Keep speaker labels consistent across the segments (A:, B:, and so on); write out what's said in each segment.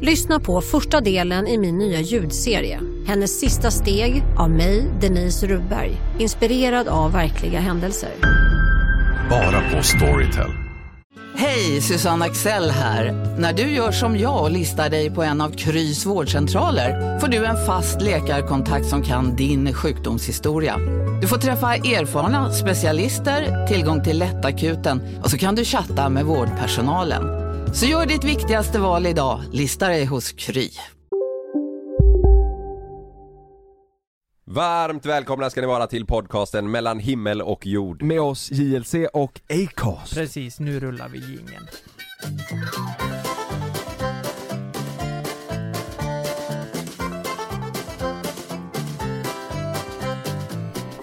A: Lyssna på första delen i min nya ljudserie. Hennes sista steg av mig, Denise Rubberg. Inspirerad av verkliga händelser.
B: Bara på Storytel.
C: Hej, Susanne Axel här. När du gör som jag och listar dig på en av Krys vårdcentraler får du en fast läkarkontakt som kan din sjukdomshistoria. Du får träffa erfarna specialister, tillgång till lättakuten och så kan du chatta med vårdpersonalen. Så gör ditt viktigaste val idag, listar dig hos Kry.
D: Varmt välkomna ska ni vara till podcasten mellan himmel och jord
E: Med oss JLC och Acast.
F: Precis, nu rullar vi jingeln.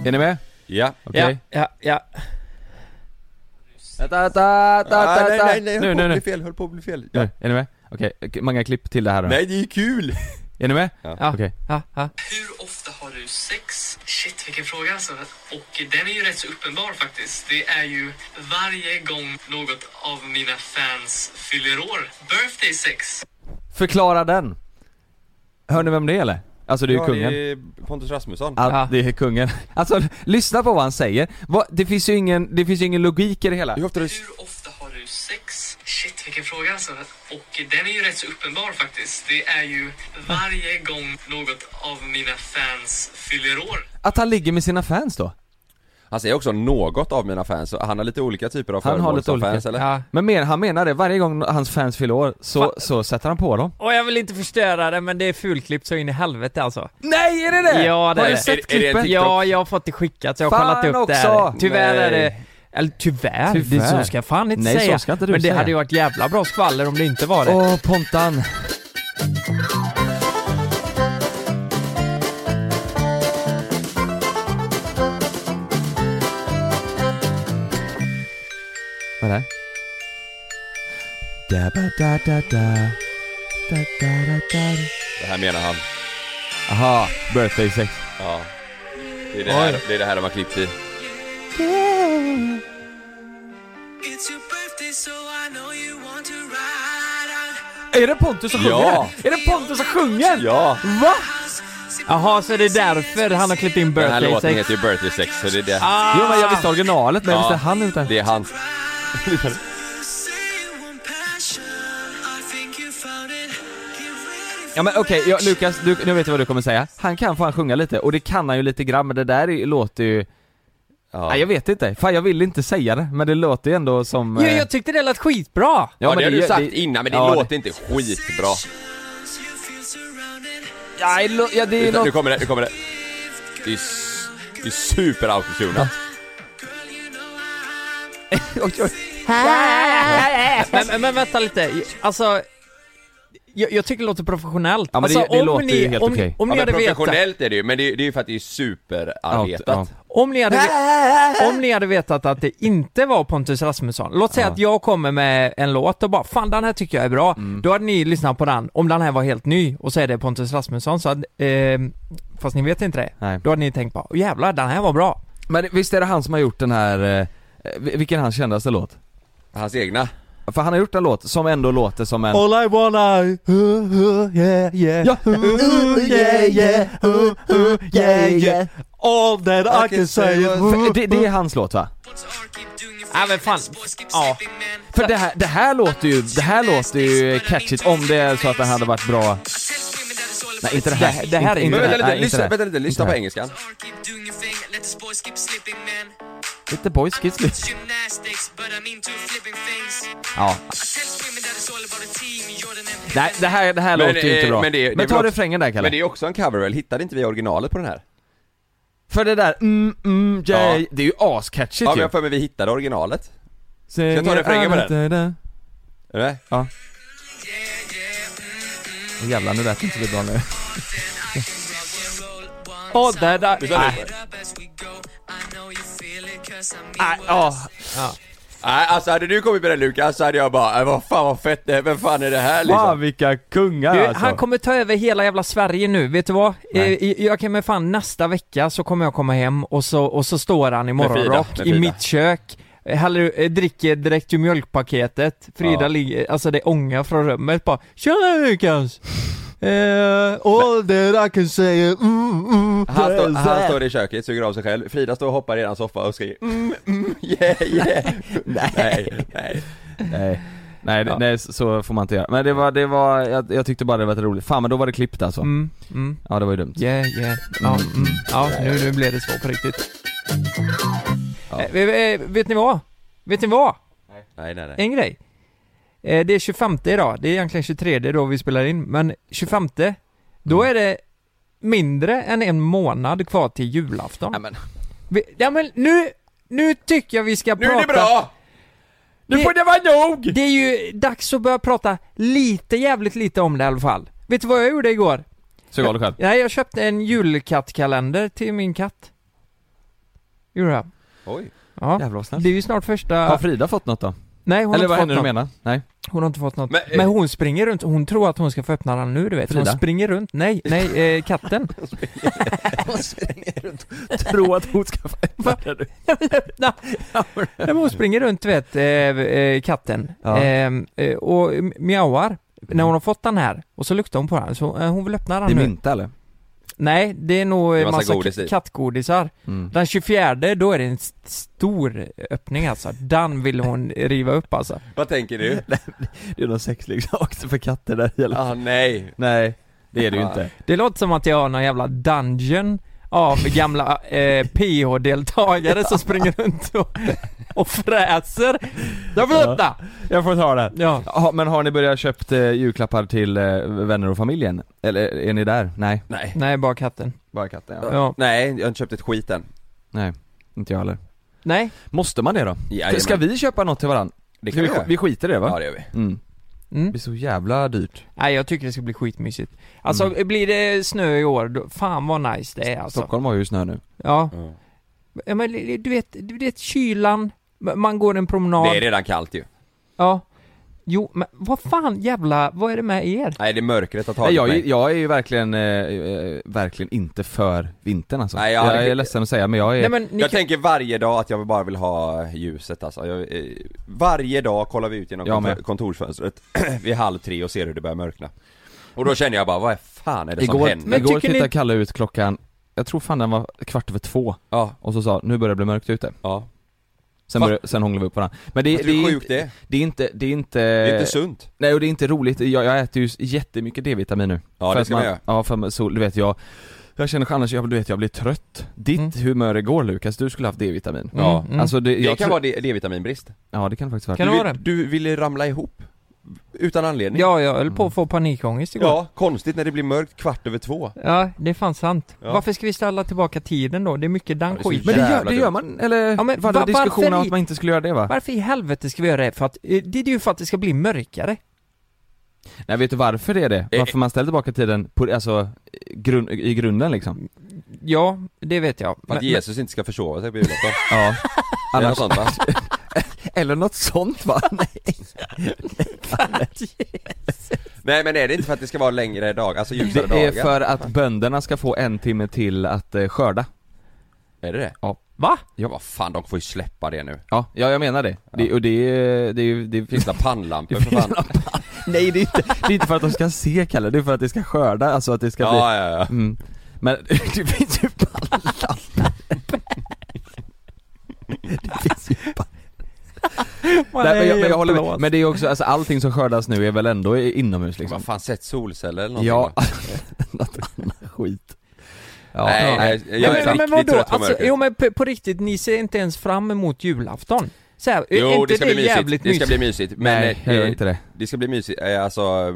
E: Är ni med?
D: Ja
E: Okej.
F: Ja, ja,
E: Vänta, vänta, vänta,
D: Ah, nej,
E: vänta.
D: nej, nej, höll
E: nu,
D: på
E: nu,
D: att bli
E: nu.
D: fel, höll på att bli fel
E: Nu, Är ni med? Okej, okej, många klipp till det här då.
D: Nej det är ju kul!
E: Är ni med?
F: ja.
E: Okej.
F: Ja, ja.
G: Hur ofta har du sex? Shit, vilken fråga alltså. Och den är ju rätt så uppenbar faktiskt. Det är ju varje gång något av mina fans fyller år. Birthday sex.
E: Förklara den. Hör ni vem det är eller? Alltså det är ju kungen.
D: det är Pontus Rasmusson
E: Att
F: Ja.
E: det är kungen. Alltså lyssna på vad han säger. Vad- det finns ju ingen, det finns ju ingen logik i det hela.
D: Hur ofta du...
G: Hur ofta har du sex? Shit, vilken fråga alltså. Och den är ju rätt så uppenbar faktiskt. Det är ju varje gång något av mina fans fyller år.
E: Att han ligger med sina fans då.
D: Han säger också något av mina fans, så han har lite olika typer av
E: Han har
D: föremål
E: lite
D: som
E: olika.
D: fans eller?
F: ja.
E: Men men, han menar det, varje gång hans fans fyller år så, så sätter han på dem.
F: Och jag vill inte förstöra det, men det är fulklippt så in i helvete alltså.
E: Nej är det det?
F: Ja, det
E: har
F: är
E: du
F: det.
E: sett
D: Är det- är det en
E: klippet?
D: TikTok?
F: Ja, jag har fått det skickat så jag har
E: Fan
F: kollat upp det här.
E: också!
F: Tyvärr är det...
E: Nej.
F: Eller tyvärr,
E: Tyvärr.
F: Det, så ska jag fan inte
E: Nej, så
F: säga.
E: ska inte du
F: men det
E: säga.
F: hade ju varit jävla bra skvaller om det inte var det.
E: Åh Pontan. Vad är det? Da, ba, da, da, da. Da, da, da, da.
D: Det här menar han,
E: Aha, birthday sex.
D: ja Det är det
E: Oj.
D: här, det är det här de har klippt i
E: Är det Pontus som sjunger?
D: Ja.
E: Är det Pontus som sjunger?
D: Ja!
E: Va?
F: Jaha, så det är därför han har klippt in
D: Den här
F: birthday
D: låten
F: sex.
D: heter ju Birthday Sex, så det är det
F: Ah!
E: Jo men jag visste originalet men jag
D: Ja.
E: visste han inte.
D: Det är hans
E: Ja men okej, ja, Lukas, du, nu vet jag vad du kommer säga. Han kan fan sjunga lite, och det kan han ju lite grann men det där är, låter ju... Nej jag vet inte, fan jag vill inte säga det, men det låter ju ändå som...
F: Jo,
E: eh,
F: jag tyckte det lät skitbra!
D: Ja, det har du
E: gör-
D: sagt innan men det
E: ja,
D: låter inte skitbra
E: Ja, det lå- ja, det är
D: Utan,
E: något...
D: nu kommer det, nu kommer det Det är, s- det är super autotunat
E: Oj, oj.
F: Men, men, men vänta lite, alltså... Jag, jag tycker det låter professionellt.
E: Ja, men det-
F: alltså,
E: det
F: om
E: låter
F: ni,
E: ju helt
F: om,
E: okej.
F: Om ni
D: Ja, men
F: hade vetat,
D: professionellt är det ju, men det är det är ju för att det är superarbetat.
E: Ja,
F: om ni hade, ve- om ni hade vetat att det inte var Pontus Rasmusson, låt säga att jag kommer med en låt och bara 'Fan den här tycker jag är bra' Då hade ni lyssnat på den, om den här var helt ny, och så är det Pontus Rasmusson så hade, eh, Fast ni vet inte det.
E: Nej.
F: Då hade ni tänkt bara 'Åh jävlar, den här var bra'
E: Men visst är det han som har gjort den här, eh, vi- vilken är hans kändaste låt?
D: Hans egna.
E: För han har gjort en låt som ändå låter som en...
F: All I wanna, uh, yeah yeah Uh,
E: Ja.
F: yeah yeah, Uh, yeah yeah All that I can say uh,
E: För Det, det är hans låt va?
F: Ja men fan, ja.
E: För det här, det här låter ju, det här låter ju catchigt om det är så att den hade varit bra... Nej inte det här.
F: Det- det här är
E: Inte-
F: ju-
D: Men
E: inte
D: vänta
E: det
D: lite,
E: här. Nej, inte
D: lyssna,
E: det här.
D: vänta lite, lyssna
E: Inte
D: på
E: det här.
D: engelskan.
E: Lite boys kids lite. Ja. Nej, det här, det här
D: Men,
E: låter ju inte
D: eh,
E: bra.
D: men det- det
E: men ta
D: låter-
E: refrängen där Kalle.
D: Men det är också en cover väl? Hittade inte vi originalet på den här?
E: För det där mm, mm, yeah,
D: Ja.
E: det är ju ascatchigt
D: Ja men
E: ju.
D: jag har för mig vi hittade originalet.
E: Ska jag
D: ta refrängen på
E: den?
D: Är du med?
E: Ja. Åh jävlar, nu lät inte det bra nu.
F: Åh, där, där.
D: Lyssna nu.
F: Nej.
D: Nej, ja.
F: Ja.
D: Nej, alltså hade du kommit med den Lukas så hade jag bara, "Äh, vad fan vad fett, det är. vem fan är det här
E: Fan
D: liksom?
E: ah, vilka kungar
F: Du,
E: alltså.
F: Han kommer ta över hela jävla Sverige nu, vet du vad? Eh,
E: Nej.
F: Jag kan med fan nästa vecka så kommer jag komma hem och så, och så står han i
D: Med Frida,
F: morgonrock
D: med
F: i
D: Frida.
F: mitt kök eh, häller, eh, dricker direkt ur mjölkpaketet, Frida
D: Ja.
F: ligger, alltså det ångar från rummet bara Tjena Lukas! Eh, all that I can say is, mm, mm,
D: Han, står- han
F: present."
D: står i köket, suger av sig själv, Frida står och hoppar i hans soffa och skriker mm, mm, yeah, yeah. nej, nej.
E: Nej, nej, nej så får man inte göra. Men det var, det var, jag, jag tyckte bara det var roligt. Fan men då var det klippt alltså.
F: Mm, mm,
E: Ja det var ju dumt.
F: yeah, yeah. Ja, mm, ja nu, nu blev det så på riktigt. Eh, eh, vet ni vad? Vet ni vad?
D: Nej, nej, nej.
F: En grej. Eh, Det är 25 idag, det är egentligen 23 då vi spelar in, men 25 då är det mindre än en månad kvar till julafton. Ja men, ja, men nu, nu tycker jag vi ska
D: Nu
F: prata...
D: är det bra! Nu
F: Det-
D: får det vara nog!
F: Det är ju dags att börja prata lite, jävligt lite om det i alla fall. Vet du vad jag gjorde igår?
E: Sug av dig själv.
F: Nej, jag köpte en julkattkalender till min katt. Gjorde jag.
D: Oj.
F: Ja.
E: Jävlar vad snällt.
F: Det är ju snart
E: Har
F: första...
E: Frida fått något då?
F: Nej, hon
E: Eller vad
F: har inte fått
E: henne du
F: något.
E: menar? Nej.
F: Hon har inte fått något. Men,
D: Men, eh,
F: hon springer runt, hon tror att hon ska få öppna den nu du vet.
E: Frida?
F: Hon springer runt, nej, nej, eh, katten.
E: Tro att hon ska
F: Va? nej, men hon springer runt du vet, eh, eh, katten.
E: Ja. Mm.
F: Ehm, Eh, och mjauar. När hon har fått den här, och så luktar hon på den, så eh, hon vill öppna den
E: Det är
F: nu.
E: mynta eller?
F: Nej, det är nog eh,
D: Det är massa
F: massa,
D: godis i.
F: kattgodisar.
E: Mm.
F: Den 24, då är det en st- stor öppning alltså. Den vill hon riva upp alltså.
D: Vad tänker du?
E: Det är någon sexleksak för katter där i alla fall.
D: Ah, nej. Ah,
E: Nej, det är det ju
D: Ja.
E: inte.
F: Det låter som att jag har någon jävla dungeon av gamla eh, PH-deltagare som springer runt och, och fräser. Jag får
E: Ja.
F: öppna!
E: Jag får ta det.
F: Ja.
E: Ja, men har ni börjat köpt eh, julklappar till eh, vänner och familjen? Eller är ni där? Nej,
D: Nej.
F: Nej, bara katten.
E: bara katten ja.
F: Ja.
D: Nej, jag har inte köpt ett skit än.
E: Nej, inte jag heller.
F: Nej,
E: Måste man det då?
D: Jajamän.
E: Ska vi köpa något till varandra?
D: Det
E: vi,
D: vi göra.
E: vi skiter i det va?
D: Ja, det gör vi.
E: Mm. Det
F: Mm.
E: blir så jävla dyrt.
F: Nej, jag tycker det ska bli skitmysigt. Alltså, blir det snö i år, då, fan vad nice det är alltså.
E: Mm. Stockholm har ju snö nu.
F: Ja.
D: Mm.
F: ja. Men li- li- du vet, du vet kylan, m- man går en promenad.
D: Det är redan kallt ju.
F: Ja. Jo, men vad fan jävla, vad är det med er?
D: Nej, det är mörkret har tagit
E: Nej, jag, är-
D: mig.
E: jag är ju verkligen, eh, eh, verkligen inte för vintern alltså.
D: Nej, jag
E: jag,
D: hade-
E: är ledsen att säga men jag är...
F: Nej men, ni
D: Jag
F: kan...
D: tänker varje dag att jag bara vill ha ljuset alltså. jag, eh, Varje dag kollar vi ut genom
E: Jag
D: kontor,
E: med.
D: kontorsfönstret vid halv tre och ser hur det börjar mörkna Och då känner jag bara, vad fan är det som
E: igår
D: händer?
F: Men
E: igår
F: tycker ni-
E: tittade Kalle ut klockan, jag tror fan den var kvart över två.
D: Ja,
E: Och så sa nu börjar det bli mörkt ute.
D: ja
E: Sen,
D: Fan.
E: började, sen hånglade vi upp varandra. Men det,
D: Fast
E: det, eh,
D: hur
E: är
D: sjukt
E: inte,
D: det är?
E: det är inte, det är inte...
D: Det är inte sunt
E: Nej och det är inte roligt, jag, jag äter ju jättemycket D-vitamin nu
D: Ja,
E: För
D: det
E: att
D: ska man göra.
E: Ja för så, du vet jag Jag känner annars, jag, du vet jag blir trött Ditt
F: Mm.
E: humör igår Lukas, du skulle haft D-vitamin
D: Ja,
F: Mm, mm.
E: Alltså det,
D: Det
E: jag
D: kan
E: tror-
D: vara D- D-vitaminbrist
E: Ja det kan det faktiskt vara
F: Kan det
D: du,
F: vara det?
D: vill- du ville ramla ihop Utan anledning
F: Ja, jag höll på att få panikångest igår.
D: Ja, konstigt när det blir mörkt kvart över två
F: Ja, det är fan sant.
D: Ja.
F: Varför ska vi ställa tillbaka tiden då? Det är mycket den
D: Ja, det är så
F: skiten.
E: Men det gör,
D: Jävla
E: det gör man, eller?
F: Ja, men
E: var det
F: va-
E: diskussion
F: varför
E: om
F: i-
E: att man inte skulle göra det va?
F: Varför i helvete ska vi göra det? För att, eh, det är ju för att det ska bli mörkare.
E: Nej vet du varför det är det?
D: Eh.
E: Varför man ställer tillbaka tiden på, alltså, grun, i grunden liksom?
F: Ja, det vet jag.
D: För att
F: Men-
D: Jesus inte ska försova sig på julafton
E: Ja
D: Eller något
E: Annars,
D: sånt va?
E: eller något sånt va?
D: Nej men är det inte för att det ska vara längre dag, alltså ljusare
E: Det är
D: dagar?
E: för att bönderna ska få en timme till att eh, skörda
D: Är det det?
F: Va?
D: Ja vad fan, de får ju släppa det nu
E: Ja, ja jag menar det. det och det, är- det, är ju- det finns
D: Finns det pannlampor för fan?
E: Nej det är, inte, det är inte för att de ska se Kalle, det är för att det ska skörda, alltså att det ska bli
D: Ja, ja, ja.
E: mm. Men det finns ju pallar Det finns ju pallar Nej, men, jag, men jag håller med, men det är också, alltså allting som skördas nu är väl ändå i- inomhus liksom
D: Vad fan, sätt solceller eller någonting
E: Ja,
D: va?
E: något annat skit ja,
D: Nej, jag, jag är
F: men, men
D: riktigt
F: vadå?
D: trött på
F: Alltså,
D: mörkret
F: jo men på, på riktigt, ni ser inte ens fram emot julafton. Så här, eh, är
D: Jo,
F: inte
D: det ska bli mysigt,
F: jävligt
D: det ska
F: mysigt?
D: bli mysigt men eh,
E: Nej, jag gör inte det
D: Det ska bli mysigt, eh, alltså, oh, eh,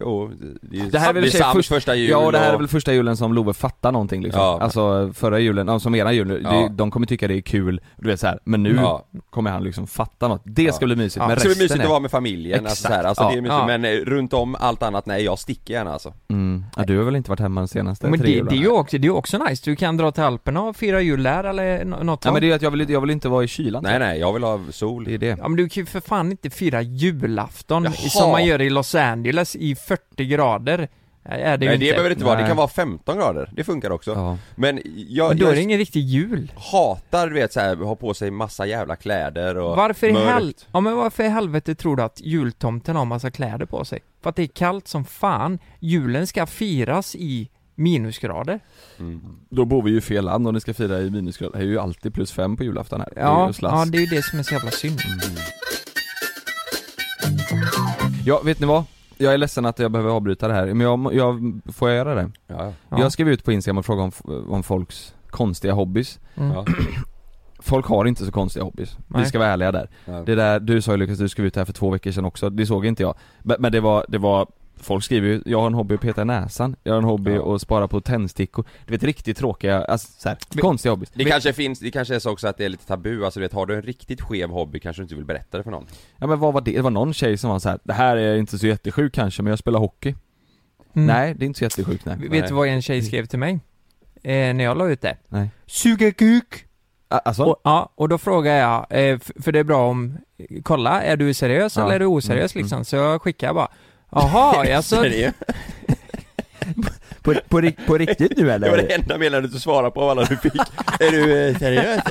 D: jo,
E: Det här är väl i och för sig först-
D: första jul
E: Ja, och det här är
D: och-
E: väl första julen som Love fattar någonting liksom.
D: Ja.
E: Alltså förra julen, ja, som era jul,
D: Ja.
E: det, de kommer tycka det är kul, du vet så här. men nu
D: Ja.
E: kommer han liksom fatta något. Det ska bli mysigt,
F: Ja.
E: men
D: Det ska
E: resten
D: bli mysigt
E: är...
D: att vara med familjen, alltså, så här,
E: Exakt,
D: alltså
E: ja.
D: det är mysigt,
F: Ja.
D: men eh, runt om allt annat, nej jag sticker gärna alltså
E: mm. ja, du har väl inte varit hemma de senaste
F: Men
E: tre
F: det,
E: jularna?
F: det, är ju också, det är ju också nice, du kan dra till Alperna och fira jul där eller nå- något
E: Ja men
F: sånt.
E: det är ju att jag vill, jag vill inte vara i kylan
D: Nej nej, jag vill ha sol
E: Det är det.
F: Ja men du kan ju för fan inte fira julafton
D: Jaha.
F: som man gör i Los Angeles i 40 grader. Nej, Är det ju
D: Nej det
F: inte.
D: behöver det inte vara, det
E: Nej.
D: kan vara 15 grader, det funkar också
E: Ja.
D: Men jag,
F: Men då är
D: jag
F: det ingen riktig jul.
D: hatar du vet så här, ha på sig massa jävla kläder och
F: Varför i,
D: mörkt.
F: hel... ja, men varför i helvete tror du att jultomten har massa kläder på sig? För att det är kallt som fan. Julen ska firas i minusgrader.
E: Då bor vi ju i fel land om ni ska fira i minusgrader, det är ju alltid plus fem på julafton här. det är
F: Ja,
E: ju slask.
F: ja, det är ju det som är så jävla synd.
E: ja, vet ni vad? Jag är ledsen att jag behöver avbryta det här, men jag, må- jag får jag göra det?
D: Ja, ja.
F: Ja.
E: Jag skrev ut på Instagram och frågade om, f- om folks konstiga hobbys
F: Mm.
D: Ja.
E: Folk har inte så konstiga hobbys,
F: Nej.
E: vi ska vara ärliga där.
D: Nej.
E: Det där, du sa ju Lukas, du skrev ut det här för två veckor sedan också, det såg inte jag. Men, men det var, det var, folk skriver ju, jag har en hobby att peta i näsan, jag har en hobby
D: Ja.
E: att spara på tändstickor. Du vet riktigt tråkiga, alltså, så här, konstiga hobbys.
D: Det kanske finns, det kanske är så också att det är lite tabu, alltså du vet har du en riktigt skev hobby kanske du inte vill berätta det för någon
E: Ja men vad var det? Det var någon tjej som var så här, det här är inte så jättesjuk kanske men jag spelar hockey.
F: Mm.
E: Nej, det är inte så jättesjukt nej.
F: Vet du vad en tjej skrev till mig? Eh, när jag la ut det?
E: Nej.
F: Suga kuk!
E: A- Alltså?
F: Och, ja, och då frågar jag, eh, f- för det är bra om, kolla, är du seriös
E: Ja.
F: eller är du oseriös
E: Mm,
F: liksom? Så jag skickar bara, jaha, alltså,
E: på, på, ri- på riktigt nu
D: Det var det enda meddelandet du svarade på av alla du fick Är du eh, seriös?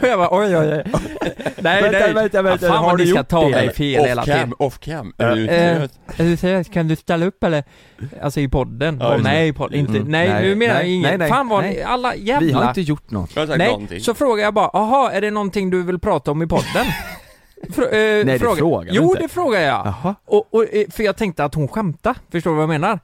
F: och jag bara, oj, oj, oj. Nej,
E: Vänta,
F: nej.
E: vänta, vänta,
F: Ja, fan
E: har
F: vad
E: du
F: ni ska
E: gjort
F: ta
E: det,
F: mig
E: eller?
F: fel hela tiden.
D: off cam, är du
F: Eh,
D: seriös?
F: är du seriös? Kan du ställa upp eller? Alltså i podden?
D: Ja,
F: Bara,
D: just det.
F: nej, i podden. Inte,
E: Mm.
F: nej,
E: Nej,
F: nu menar jag
E: nej,
F: inget.
E: nej, nej,
F: Fan vad ni,
E: nej.
F: alla jävla...
E: Vi har inte gjort något.
D: Jag har sagt
F: Nej,
D: någonting.
F: så frågar jag bara, aha, är det någonting du vill prata om i podden? Frå, eh,
E: Nej, det frågar du
F: Jo,
E: inte.
F: det frågar jag.
E: Jaha.
F: Och, och, eh, för jag tänkte att hon skämtade, förstår du vad jag menar?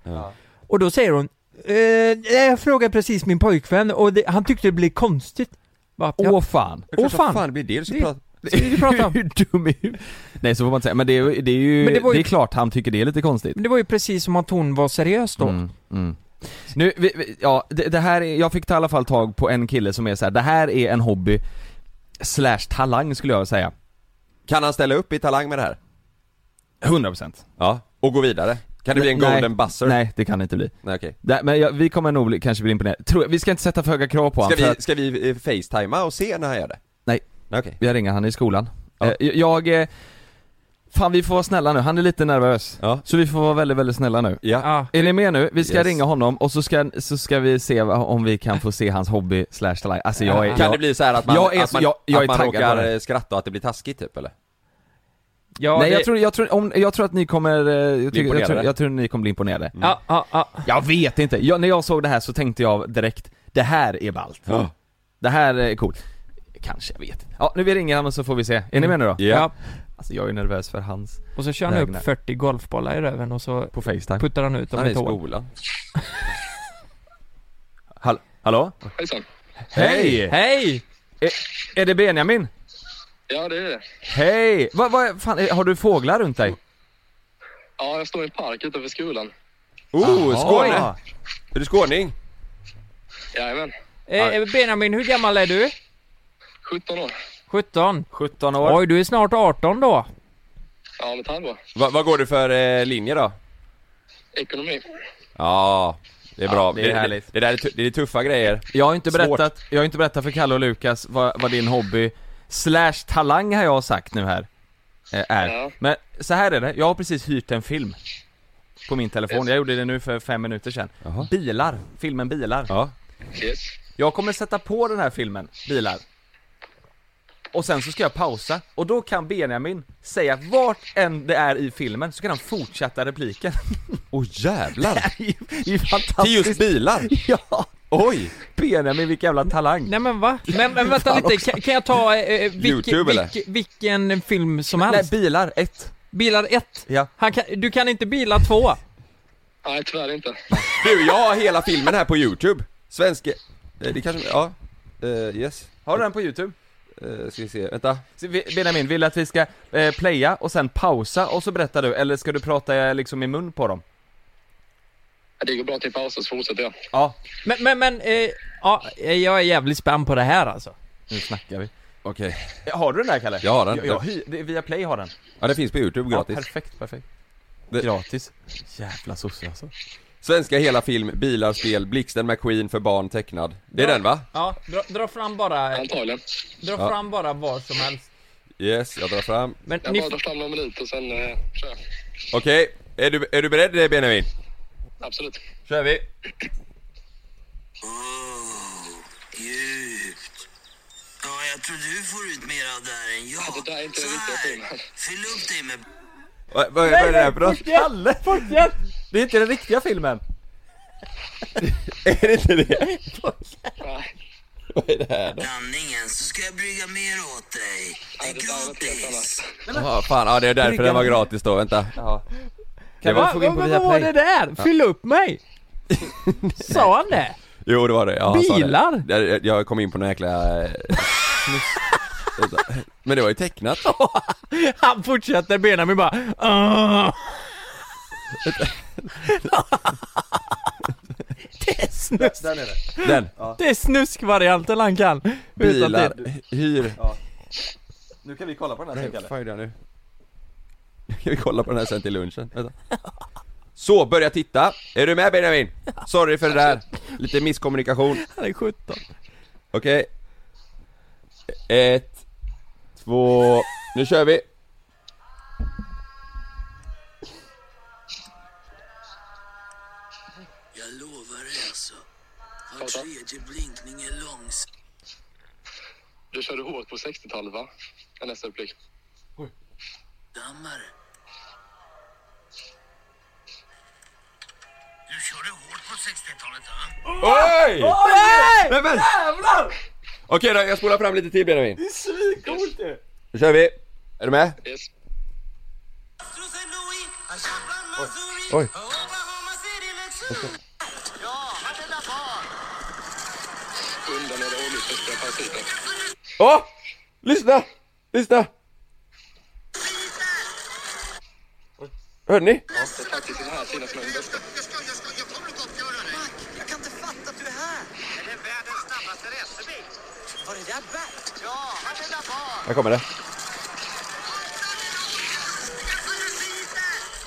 F: Och då säger hon, eh, nej, jag frågade precis min pojkvän och det, han tyckte det blev konstigt. Bara, ja,
E: Åh fan.
D: Det är klart
F: åh,
D: som
F: fan.
D: fan det blir det du ska
F: Det-
D: prata
F: ska vi prata om?
E: Hur dum är du? Nej så får man inte säga, men det är, ju- det är ju,
F: Men det
E: det,
F: var ju-
E: är klart han tycker det är lite konstigt.
F: Men det var ju precis som att hon var seriös då.
E: Mm, mm. Nu, vi, vi, ja det, det här är, jag fick i alla fall tag på en kille som är så här. det här är en hobby slash talang skulle jag säga.
D: Kan han ställa upp i Talang med det här?
E: 100%
D: Ja, och gå vidare? Kan det bli en golden
E: nej,
D: buzzer?
E: Nej, det kan det inte bli.
D: Nej okej
E: Det, men jag, vi kommer nog bli- kanske bli imponerade. Tror, jag- vi ska inte sätta för höga krav på honom
D: Ska
E: för
D: vi,
E: att,
D: ska vi eh, facetima och se när han gör det?
E: Nej.
D: Nej okej
E: jag ringer han i skolan.
D: Ja.
E: Eh, Jag, eh, fan vi får vara snälla nu, han är lite nervös.
D: Ja.
E: Så vi får vara väldigt, väldigt snälla nu.
D: Ja,
F: Ja.
E: Är ni med nu? Vi ska
D: Yes.
E: ringa honom och så ska, så ska vi se vad- om vi kan få se hans hobby slash talang. Alltså jag är,
D: kan
E: jag,
D: det bli så här att man,
E: jag är
D: att
E: så-
D: man,
E: jag- jag
D: att
E: är
D: man
E: taggad på
D: råkar
E: det här.
D: eh, skratta och att det blir taskigt typ eller?
F: Ja,
E: Nej
F: det-
E: jag tror, jag tror, om, jag tror att ni kommer, eh, jag, tycker, jag, tror,
D: imponerade. Mm.
E: jag tror ni kommer bli imponerade.
F: Ja, ja, ja.
E: Jag vet inte, jag, när jag såg det här så tänkte jag direkt, det här är ballt.
D: Ja.
E: Det här är coolt. Kanske, jag vet inte. Ja, nu vi ringer honom så får vi se. Är ni med nu då?
D: Mm. Ja.
E: Alltså jag är ju nervös för hans,
F: Och så kör han
E: Vägnar.
F: upp 40 golfbollar i röven och så
E: på Facetime.
F: puttar han ut dem
D: Han är i
F: i tån.
D: skolan
E: Hall- Hallå?
H: Hejsan.
E: Hej!
F: Hej!
E: Är- Är det Benjamin?
H: Ja, det är det.
E: Hej! Vad, vad, fan, är- har du fåglar runt dig?
H: Ja, jag står i en park utanför skolan.
D: Oh, Skåne!
E: Oj.
D: Är du skåning?
H: Jajamän.
F: Eh, Benjamin, hur gammal är du?
H: 17 år.
F: 17?
E: 17 år.
F: Oj, du är snart 18 då.
H: Ja, om ett halvår.
D: Va, vad går du för eh, linje då?
H: Ekonomi.
D: Ja, det är bra.
E: det är härligt.
D: Det, det, där är, tu- det är tuffa grejer.
E: Jag har inte
D: Svårt.
E: berättat, jag har inte berättat för Kalle och Lukas vad, vad din hobby slash talang har jag sagt nu här eh, är.
H: Ja.
E: Men så här är det, jag har precis hyrt en film på min telefon, jag gjorde det nu för fem minuter sedan. Bilar, filmen Bilar.
D: Ja.
H: Yes.
E: Jag kommer sätta på den här filmen, Bilar. Och sen så ska jag pausa, och då kan Benjamin säga vart än det är i filmen, så kan han fortsätta repliken.
D: Åh oh, jävlar!
E: Det är ju
D: Till just
E: fantastiskt!
D: bilar!
E: Ja!
D: Oj!
E: Benjamin, vilken jävla talang!
F: Nej men va? Men, men vänta lite, kan, kan jag ta eh, eh, vilk,
D: YouTube, eller?
F: vilk, vilken film som
E: Nej,
F: helst?
E: bilar, ett.
F: bilar 1?
E: Ja.
F: Han kan, du kan inte bila 2?
H: Nej, tyvärr inte.
D: Du, jag har hela filmen här på youtube. Svenske... eh, Det kanske... Ja. Eh, yes.
E: Har du den på youtube?
D: Eh, Eh, ska vi se, vänta.
E: Så vi- Benjamin, vill du att vi ska eh, playa och sen pausa och så berättar du, eller ska du prata eh, liksom i mun på dem?
H: Det går bra till pausen så fortsätter jag.
E: Ja,
F: Men, men, men, eh, ja, jag är jävligt spänd på det här alltså.
E: nu snackar vi.
D: Okej.
E: Eh, Har du den där Kalle?
D: Jag har den.
E: Jag, jag, hy- det- via Play har den.
D: Ja, det finns på Youtube gratis.
E: Ja, perfekt, perfekt.
D: Det-
E: Gratis. Jävla sosse alltså.
D: Svenska hela film, bilar, spel, Blixten McQueen för barn tecknad. Det är den va?
F: Ja, dra, dra fram bara,
H: Antagligen.
F: dra
D: Ja.
F: fram bara vad som helst.
D: Yes, jag drar fram.
F: Men
H: Jag
F: ni,
H: bara tar fram någon minut och sen eh, kör jag.
D: Okej, är, du, är du beredd Benjamin?
H: Absolut.
D: kör vi!
I: Mm, Djupt. Ja, jag tror du får ut mer av det här än jag.
H: Alltså, Det där är inte den riktiga filmen.
I: Fyll upp dig med
D: Vad, vad, vad är det här för något?
E: Kalle! Fortsätt! Det är inte den riktiga filmen.
D: Är det inte det?
H: Nej,
D: Vad är det här då?
I: blandningen så ska jag brygga mer åt dig. Det är
H: det där var ett helt annat.
I: gratis.
D: Ja, fan, ja, det är därför den var gratis då, vänta. Det
F: va,
D: var,
E: får vi in
F: va,
E: på
F: vad var
E: Viaplay.
F: det där? Fyll upp mig! Sa han det?
D: jo det var det, ja, han sa det.
F: Bilar?
D: Jag, jag kom in på någon jäkla... eh, Men det var ju tecknat.
F: Han fortsätter Benjamin bara "Ah." "Åh." Det är snusk,
D: Den.
F: det är snuskvarianten han kan! Utan
D: Bilar,
F: till-
D: hyr.
E: Nu kan vi kolla på den här sen
D: Vad fan gjorde jag nu? Nu kan vi kolla på den här sen till lunchen, Vänta. Så, börja titta! Är du med Benjamin? Sorry för det där, lite misskommunikation
F: Han är 17.
D: Okej Ett Två Nu kör vi!
I: Jag lovar dig alltså. Var tredje blinkning är långs.
H: Du körde hårt på 60-talet va? Är nästa replik.
I: Dammare. Du körde hårt på 60-talet, va?
D: Oj! Nej! men! Okej då, jag spolar fram lite till Benjamin Det är svincoolt Nu kör vi! Är du med?
H: Yes.
D: Oj.
H: Undan några oljefläckar på ansiktet.
D: Åh! Lyssna! Lyssna! Hörde ni?
H: Det är faktiskt den här sidan som är den bästa.
I: Jag kan inte fatta att du är här. Är det världens snabbaste racerbil? Var det där Bert? Ja, han är där bak.
D: Här kommer det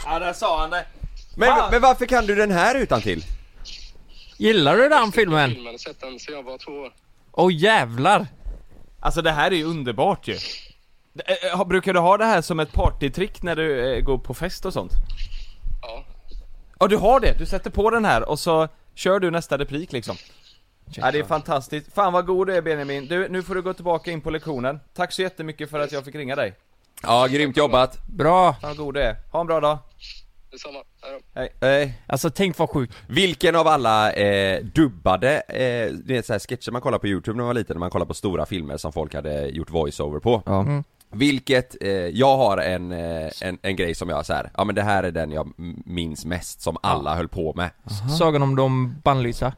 E: Ja, där sa han det.
D: men, men varför kan du den här utan till?
F: Gillar du den filmen?
H: Filmen har sett den sedan jag var två år.
F: Åh jävlar!
E: Alltså det här är ju underbart ju. Eh, eh, Brukar du ha det här som ett partytrick när du eh, går på fest och sånt?
H: Ja.
E: Ja du har det, du sätter på den här och så kör du nästa replik liksom Ja det är fantastiskt, fan vad god du är Benjamin, du nu får du gå tillbaka in på lektionen Tack så jättemycket för att jag fick ringa dig,
D: Ja, grymt jobbat!
F: Bra!
E: fan vad god du är, ha en bra dag
H: Detsamma. Hej då.
E: Hej
D: Eh,
F: Alltså tänk vad sjukt.
D: Vilken av alla eh, dubbade, eh, ni vet såhär sketcher man kollar på youtube när man var liten, när man kollar på stora filmer som folk hade gjort voiceover på
E: Mm.
D: Vilket, eh, jag har en, eh, en, en grej som jag såhär, ja men det här är den jag m- minns mest som alla höll på med
F: Sagan om de bannlysa.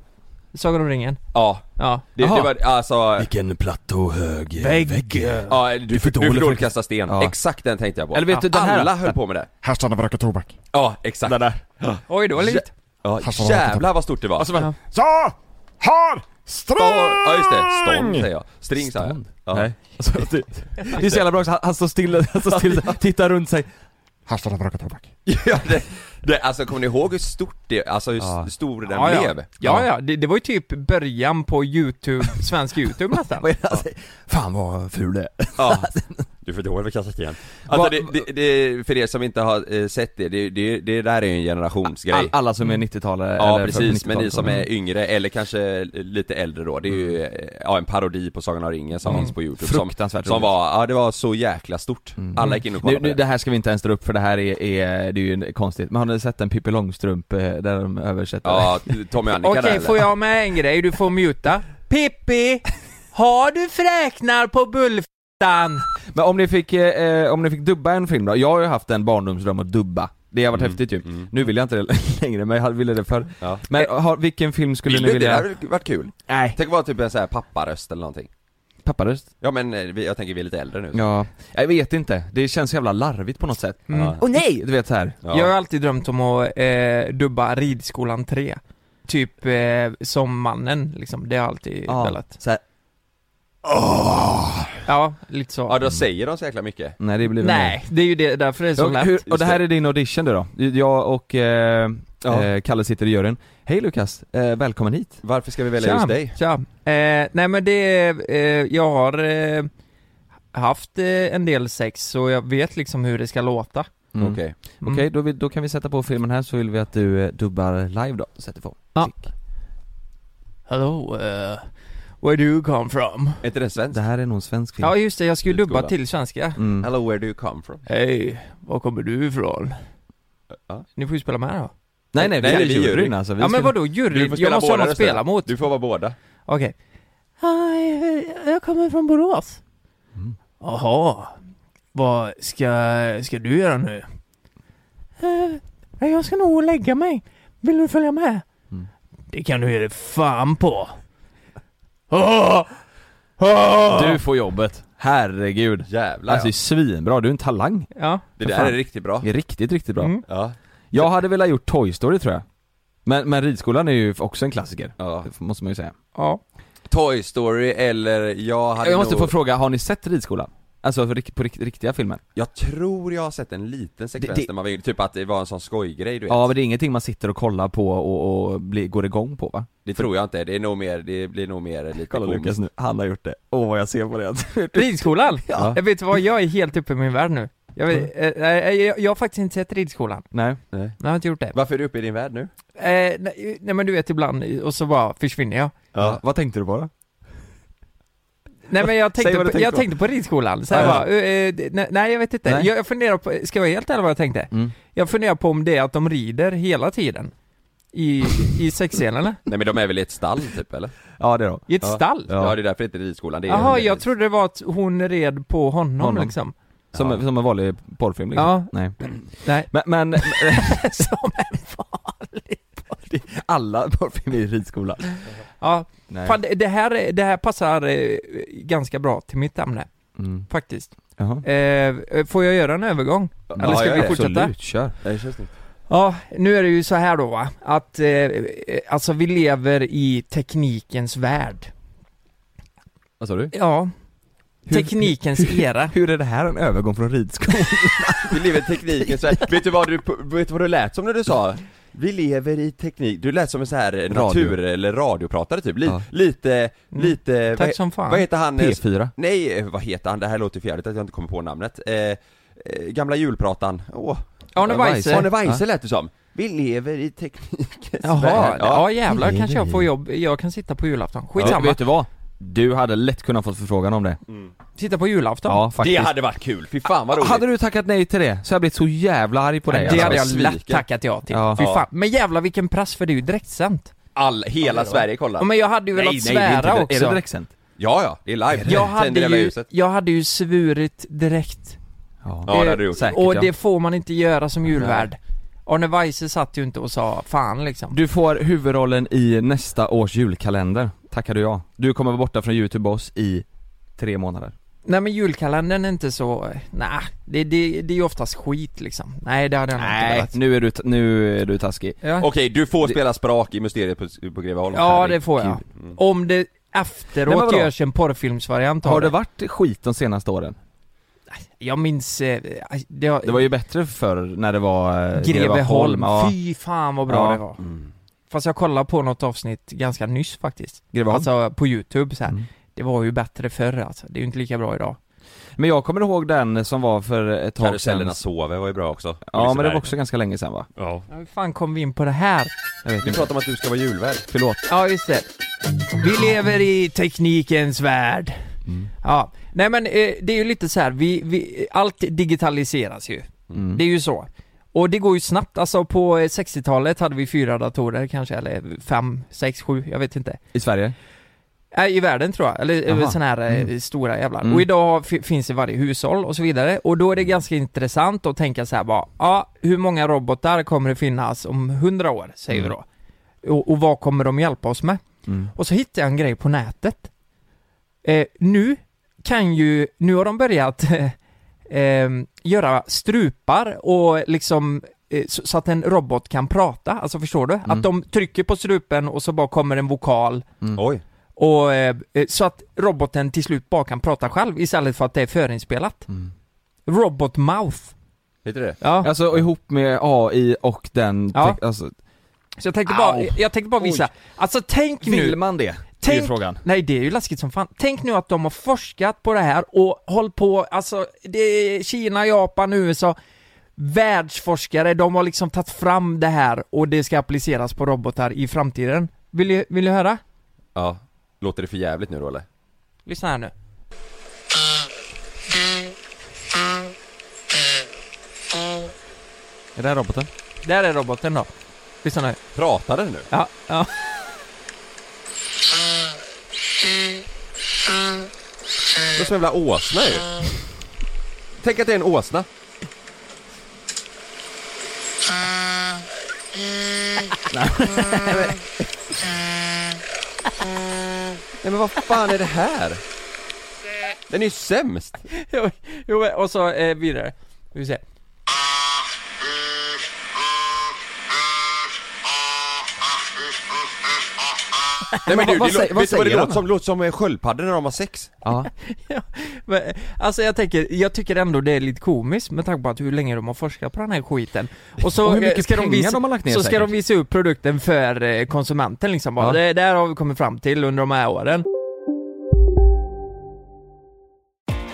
F: Sagan om ringen.
D: Ja,
F: Ja.
D: det, det var alltså,
J: Vilken plattå hög
F: Vägg.
D: ja, du, du,
J: för
D: du
J: dålig
D: får dåligt
J: för-
D: kasta sten,
J: Ja.
D: exakt den tänkte jag på
E: Eller vet du, den här-
D: Alla höll på med det
K: Här stannar vi röka tobak.
D: Ja, exakt
E: där
F: Oj, det var lite.
D: Ja,
K: Här stannar vi röka tobak.
D: jävlar vad stort det var!
F: Ja.
K: Jag har sträng!
D: Ja just det, stånd säger jag, string sa jag ja.
E: Nej, alltså, det, det är så jävla bra också, han, han står still, han står still, tittar runt sig
K: Här stannar vi röka tobak.
D: Ja, det, det, alltså kommer ni ihåg hur stort det, alltså hur s- stor den
F: Ja,
D: blev?
F: ja. ja, ja. Det, det var ju typ början på YouTube, svensk YouTube nästan.
J: Fan vad ful det är.
D: Ja. Du får dåligt kasta sten. Alltså
E: Va-
D: det, det, det, för er som inte har eh, sett det, det, det, det där är ju en generationsgrej.
E: All, Alla som är 90-talare
D: ja
E: eller
D: precis,
E: 90-talet.
D: men ni som är yngre eller kanske lite äldre då, det är ju eh, ja, en parodi på Sagan om ringen som finns på youtube som,
E: Fruktansvärt
D: som
E: roligt.
D: var, ja det var så jäkla stort. Alla gick in och
E: nu,
D: kollade
E: nu,
D: på det.
E: det här ska vi inte ens dra upp för det här är, är det är ju konstigt, men har ni sett en Pippi Långstrump eh, där de översätter?
D: Ja, Tommy och Annika
F: Okej,
D: där eller?
F: får jag med en grej? Du får muta. Pippi! Har du fräknar på bullfittan?
E: Men om ni fick, eh, eh, om ni fick dubba en film då? Jag har ju haft en barndomsdröm att dubba Det har varit häftigt ju, nu vill jag inte det längre men jag hade- ville det förr
D: Ja.
E: Men har, vilken film skulle
D: Vill
E: ni
D: du inte? Det
E: vilja?
D: hade varit kul.
E: Nej
D: Tänk att vara typ en sån här papparöst eller någonting.
E: Pepparröst?
D: Ja men eh, vi, jag tänker vi är lite äldre nu så.
E: Ja, jag vet inte, det känns så jävla larvigt på något sätt Åh
F: Mm.
E: nej! Du vet så här.
D: Ja.
F: Jag har alltid drömt om att eh, dubba Ridskolan 3. Typ eh, som mannen liksom, det har jag alltid
E: Ja.
F: velat.
E: Så här.
F: Ja, lite så.
D: Ja då säger de så jäkla mycket
E: Nej det blir väl
F: Nej, det är ju det, därför det är så
E: Ja,
F: lätt.
E: hur, och det här är din audition du då? Jag och eh,
D: Ja.
E: eh, Kalle sitter i juryn. Hej Lukas, eh, välkommen hit.
D: Varför ska vi välja just dig?
F: Tja. Eh, nej men det, eh, jag har eh, haft eh, en del sex så jag vet liksom hur det ska låta.
E: Mm.
D: Okej,
F: Mm.
E: Okej, då, vill- då kan vi sätta på filmen här så vill vi att du eh, dubbar live då, sätter på.
F: Ja.
E: Klick.
F: Hello, uh, where do you come from?
D: är inte det svenskt?
E: Det här är nog en svensk film.
F: Ja just det, jag skulle dubba
D: Skola.
F: till svenska.
E: Mm.
D: Hello where do you come from?
F: Hej, var kommer du ifrån?
D: Ja.
F: Ni får ju spela med då.
E: Nej nej, vi
D: Nej,
E: är
D: vi
E: juryn,
D: är juryn.
E: alltså. Vi
F: ja men
E: ska-
F: vadå
D: Du
F: jury?
D: får spela
F: Jag måste ha
D: båda
F: något att spela
D: rösterna.
F: mot.
D: Du får vara båda
F: Okej. Hej, jag kommer från Borås.
D: Mm.
F: Jaha. Vad ska, ska du göra nu? Eh, jag ska nog lägga mig. Vill du följa med?
E: Mm.
F: Det kan du ge dig fan på.
E: Du får jobbet. Herregud.
D: Jävlar
E: Alltså det är
D: ja.
E: svinbra, du är en talang.
F: Ja.
D: Det
E: för
D: där
E: fan.
D: är riktigt bra
E: Det är riktigt, riktigt bra.
F: Mm.
D: Ja,
E: Jag hade velat gjort Toy Story tror jag. Men, men ridskolan är ju också en klassiker.
D: ja
E: Det Måste man ju säga.
F: ja.
D: Toy Story eller jag hade
E: Jag måste
D: nog...
E: få fråga, har ni sett ridskolan? Alltså för rikt- på rikt- riktiga filmer?
D: Jag tror jag har sett en liten sekvens
E: Det- det-
D: där man var yngre, typ att det var en sån skojgrej du vet
E: Ja men det är ingenting man sitter och kollar på och, och blir, går igång på va?
D: Det tror jag inte, det är nog mer, det blir nog mer lite komiskt.
E: nu, han har gjort det. Åh vad jag ser på det
F: Ridskolan?
E: Ja. Mm.
F: Jag vet vad, jag är helt uppe i min värld nu. Jag, vet, eh, eh, jag, jag har faktiskt inte sett ridskolan.
E: Nej.
F: Jag har inte gjort det.
D: Varför är du uppe i din värld nu?
F: Eh, nej, nej men du vet ibland, och så bara försvinner jag.
E: Ja. Vad tänkte du på då?
F: Nej men jag tänkte,
E: Säg vad du
F: på,
E: tänkte
F: jag
E: på.
F: tänkte på ridskolan, så här
E: Ja.
F: bara, eh, det- nej, nej jag vet inte,
E: Nej.
F: Jag, jag funderar på, ska jag vara helt ärlig vad jag tänkte?
E: Mm.
F: Jag funderar på om det är att de rider hela tiden i, i sexscenerna,
D: Nej men de är väl i ett stall typ eller?
E: Ja det då.
F: i ett stall?
D: Ja, det är därför inte ridskolan, det är
F: Jaha, jag trodde det var att hon red på honom,
E: Honom.
F: liksom
E: Som,
D: Ja.
E: som en vanlig porrfilm liksom.
F: Ja.
E: Nej.
F: Nej,
E: Men, men
F: som en
E: alla porrfilmer är ju ridskolan.
F: Ja,
E: Nej.
F: fan, det, det, här, är- det här passar eh, ganska bra till mitt ämne,
E: Mm.
F: faktiskt
E: Jaha.
F: eh, Får jag göra en övergång? Eller ska
D: ja,
F: vi
D: ja,
F: fortsätta?
E: Absolut, kör.
D: Ja, det känns snyggt.
F: Ja, nu är det ju så här då va, att eh, eh, alltså vi lever i teknikens värld.
E: Vad sa du?
F: Ja, teknikens era.
E: Hur är det här en övergång från ridskolan?
D: Vi lever i tekniken så här. vet du vad du, vet du vad du lät som när du sa? Vi lever i teknik, du lät som en så här natur eller radiopratare typ, Li,
E: Ja.
D: lite, lite,
F: Mm. Tack
D: vad,
F: som fan.
D: vad heter han?
E: P4.
D: Nej, vad heter han? Det här låter ju för jävligt att jag inte kommer på namnet. Eh, eh, gamla julpratan, åh.
F: Arne Weise.
D: Arne Weise lät det som. Vi lever i teknikens
F: Jaha,
D: värld.
F: ja jävlar kanske jag får jobb, jag kan sitta på julafton. Skitsamma,
E: Vet du vad? Du hade lätt kunnat fått förfrågan om det.
F: sitta på julafton.
E: Ja,
D: det
E: faktiskt.
D: hade varit kul, fy fan vad roligt.
E: Hade du tackat nej till det så hade jag blivit så jävla arg på dig
F: det
E: alltså.
F: hade jag
D: sviken.
F: lätt tackat ja till.
E: Ja.
F: Fy
E: Ja.
F: fan. Men jävlar vilken press för det är ju direktsänt.
D: All, hela Sverige kollar.
F: Ja, men jag hade ju velat svära
E: är
F: också.
E: Är det direktsänt?
D: Ja, ja, det är live.
F: jag, hade
D: Tänder hela
F: ju,
D: ljuset.
F: jag hade ju svurit direkt.
D: Ja, det
F: Eh,
D: hade du gjort.
E: Säkert,
F: och
E: ja.
F: det får man inte göra som julvärd. Arne Weise satt ju inte och sa fan liksom.
E: Du får huvudrollen i nästa års julkalender, tackar du ja. Du kommer vara borta från YouTube oss i tre månader.
F: Nej men julkalendern är inte så, nej, det, det, det är ju oftast skit liksom. Nej det hade jag nog inte velat.
E: nu är du, t- nu är du taskig.
F: Ja.
D: Okej, du får spela sprak i Mysteriet på, på Greveholm.
F: ja det får jag. Om det
E: Mm. Nej, men
F: efteråt
E: vadå?
F: görs en porrfilmsvariant av
E: Har det varit skit de senaste åren?
F: Jag minns, eh, det,
E: Det var ju bättre förr när det var eh,
F: Greveholm,
E: ja.
F: fy fan vad bra
E: Ja. Mm.
F: det var. Fast jag kollade på något avsnitt ganska nyss faktiskt.
E: Greveholm.
F: Alltså på youtube så här.
E: Mm.
F: Det var ju bättre förr alltså, det är ju inte lika bra idag.
E: Men jag kommer ihåg den som var för ett tag sedan.
D: Karusellerna sover var ju bra också.
E: Ja men det var också ganska länge sedan va?
D: Ja.
F: Ja, Hur fan kom vi in på det här?
E: Jag vet
D: Vi
E: inte,
D: pratar om att du ska vara julvärd.
E: förlåt.
F: Ja, just det. Vi lever i teknikens värld. Ja, nej men eh, det är ju lite så här, vi, vi, allt digitaliseras ju. Det är ju så. Och det går ju snabbt, alltså på eh, 60-talet hade vi fyra datorer kanske, eller fem, sex, sju, jag vet inte.
E: I Sverige?
F: Nej, i världen tror jag, eller
E: Jaha.
F: sådana här eh, stora jävlar. Och idag fi- finns det i varje hushåll och så vidare. Och då är det ganska intressant att tänka så här bara, ja, hur många robotar kommer det finnas om hundra år, säger vi då. Och, och vad kommer de hjälpa oss med? Och så hittade jag en grej på nätet. Eh, nu kan ju, nu har de börjat eh, eh, göra strupar och liksom eh, så, så att en robot kan prata, alltså förstår du? Att de trycker på strupen och så bara kommer en vokal
E: Mm.
D: Oj.
F: och eh, eh, så att roboten till slut bara kan prata själv istället för att det är förinspelat.
E: Mm.
F: Robot mouth.
D: Heter det
F: Ja.
E: Alltså och ihop med AI och den,
F: Ja.
E: te- alltså,
F: Så jag tänkte bara,
E: Au.
F: jag tänkte bara visa, alltså tänk nu
E: vill man det? Det är
F: Tänk,
E: ju frågan.
F: nej det är ju läskigt som fan. Tänk nu att de har forskat på det här och håll på, alltså det är Kina, Japan, USA, världsforskare, de har liksom tagit fram det här och det ska appliceras på robotar i framtiden. Vill du, vill du höra?
D: Ja. Låter det för jävligt nu då eller?
F: Lyssna här nu.
E: Är det här roboten?
F: Där är roboten då. Lyssna nu.
D: Pratar den nu?
F: Ja, ja.
D: Det är som en jävla åsna ju. Tänk att det är en åsna. Nej men- Nej men vad fan är det här? Den är ju sämst!
F: Jo, jo, och så eh, vidare. Vi ser.
D: Nej men du, det,
E: vad
D: lå-
E: säger- vad
D: vet du vad det låter
E: säger han?
D: som? Det låter som eh, sköldpaddor när de har sex.
E: Ja.
F: Ja, men, alltså jag tänker, jag tycker ändå det är lite komiskt med tanke på att hur länge de har forskat på den här skiten. Och så
E: Och hur
F: eh,
E: mycket
F: ska de
E: pengar
F: visa,
E: de har lagt ner
F: så ska
E: säkert.
F: de visa upp produkten för eh, konsumenten liksom bara,
E: Ja.
F: det där har vi kommit fram till under de här åren.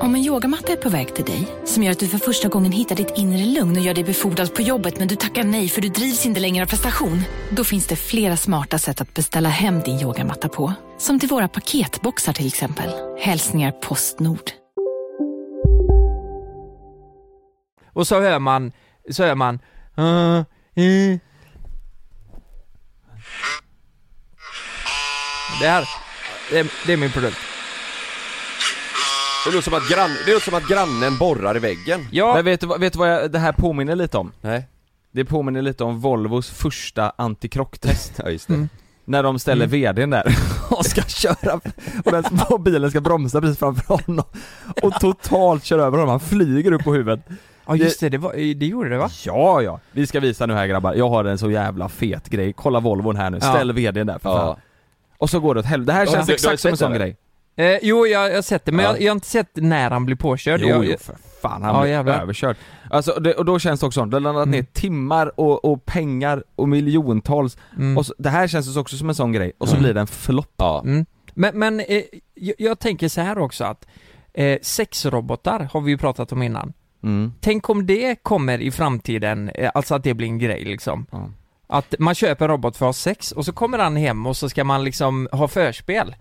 C: Om en yogamatta är på väg till dig, som gör att du för första gången hittar ditt inre lugn och gör dig befordrad på jobbet men du tackar nej för du drivs inte längre av prestation. Då finns det flera smarta sätt att beställa hem din yogamatta på. Som till våra paketboxar till exempel. Hälsningar Postnord.
F: Och så hör man, så hör man, "Ah, eh." Det här, det är, det är min produkt.
D: Det låter som att, grann, det låter som att grannen borrar i väggen.
F: Ja.
E: Men vet du, vad- vet du vad jag, det här påminner lite om?
D: Nej.
E: Det påminner lite om Volvos första antikrocktest.
D: ja just det.
E: När de ställer VDn där och ska köra, och den och bilen ska bromsa precis framför honom och totalt kör över honom, han flyger upp på huvudet.
F: Ja just det, det, var, det gjorde det va?
E: Ja, ja. Vi ska visa nu här grabbar, jag har en så jävla fet grej, kolla Volvon här nu,
F: Ja.
E: ställ VDn där för fan. Och så går det åt helvete, det här
F: Ja,
E: känns
F: du- du har
E: exakt som en
F: sett
E: sån
F: det,
E: grej.
F: Eh, jo, jag, jag har sett det, men
E: Ja.
F: jag, jag har inte sett när han blir påkörd.
E: Jo,
F: jag,
E: jo, för fan, han
F: Ja,
E: blev
F: jävlar.
E: överkörd. Alltså, det, och då känns det också som, det har laddat ner timmar och, och pengar och miljontals,
F: Mm.
E: och så, det här känns också som en sån grej, och så blir det en flopp.
F: Mm. Men, men eh, jag, jag tänker så här också att eh, sexrobotar har vi ju pratat om innan.
E: Mm.
F: Tänk om det kommer i framtiden, eh, alltså att det blir en grej liksom. Att man köper en robot för att ha sex och så kommer han hem och så ska man liksom ha förspel.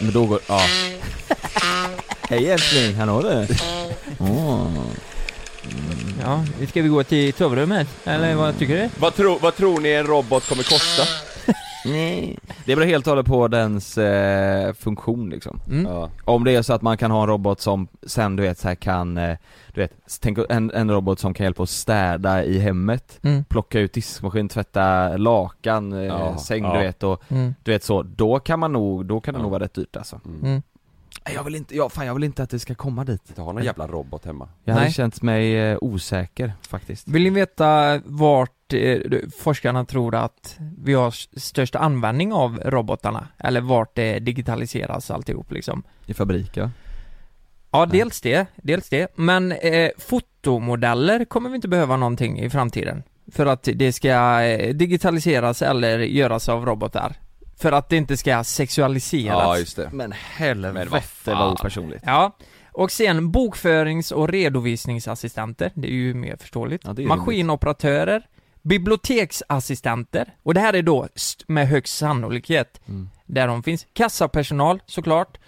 E: Men då går, ja. Hej älskling, hallå du.
F: Ja, ska vi gå till sovrummet? Eller vad tycker du?
D: Vad, tro, vad tror ni en robot kommer kosta?
E: Det beror helt och hållet på dens eh, funktion liksom.
D: Ja.
E: Om det är så att man kan ha en robot som sen du vet så här kan, eh, du vet, s- tänk en, en robot som kan hjälpa att städa i hemmet,
F: Mm.
E: plocka ut diskmaskin, tvätta lakan, eh,
D: Ja,
E: säng
D: ja.
E: du vet och
F: Mm.
E: du vet så, då kan man nog, då kan det nog vara rätt dyrt alltså.
F: Mm.
E: Nej, Jag vill inte, jag, fan jag vill inte att det ska komma dit.
D: Du har någon jävla robot hemma.
E: Jag hade
F: Nej.
E: känt mig eh, osäker faktiskt.
F: Vill ni veta vart eh, forskarna tror att vi har s- störst användning av robotarna? Eller vart det digitaliseras alltihop liksom?
E: I fabriker.
F: Ja, dels det, dels det. Men eh, fotomodeller kommer vi inte behöva någonting i framtiden. För att det ska eh, digitaliseras eller göras av robotar. För att det inte ska sexualiseras.
D: Ja, just det.
E: Men helvete
D: Men vad
E: vad,
D: fan.
E: opersonligt.
F: Ja, och sen bokförings och redovisningsassistenter, det är ju mer förståeligt.
E: är
F: Maskinoperatörer, biblioteksassistenter, och det här är då st- med högst sannolikhet
D: Mm.
F: där de finns. Kassapersonal såklart,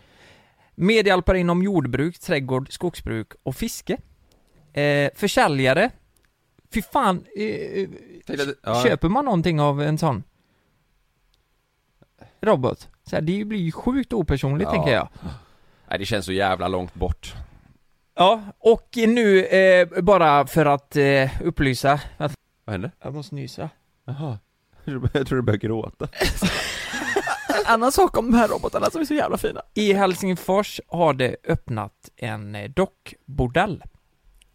F: medhjälpare inom jordbruk, trädgård, skogsbruk och fiske. Eh, försäljare, fy fan, eh, eh,
D: Tänk att-
F: k-
D: ja.
F: köper man någonting av en sån? Robot? Så här, det blir ju sjukt opersonligt tänker jag.
D: Nej det känns så jävla långt bort.
F: Ja, och nu eh, bara för att eh, upplysa... Vad
D: hände?
F: Jag måste nysa.
E: Jaha.
D: Jag tror du börjar gråta.
E: En annan sak om de här robotarna som är så jävla fina.
F: I Helsingfors har det öppnat en eh, dockbordell.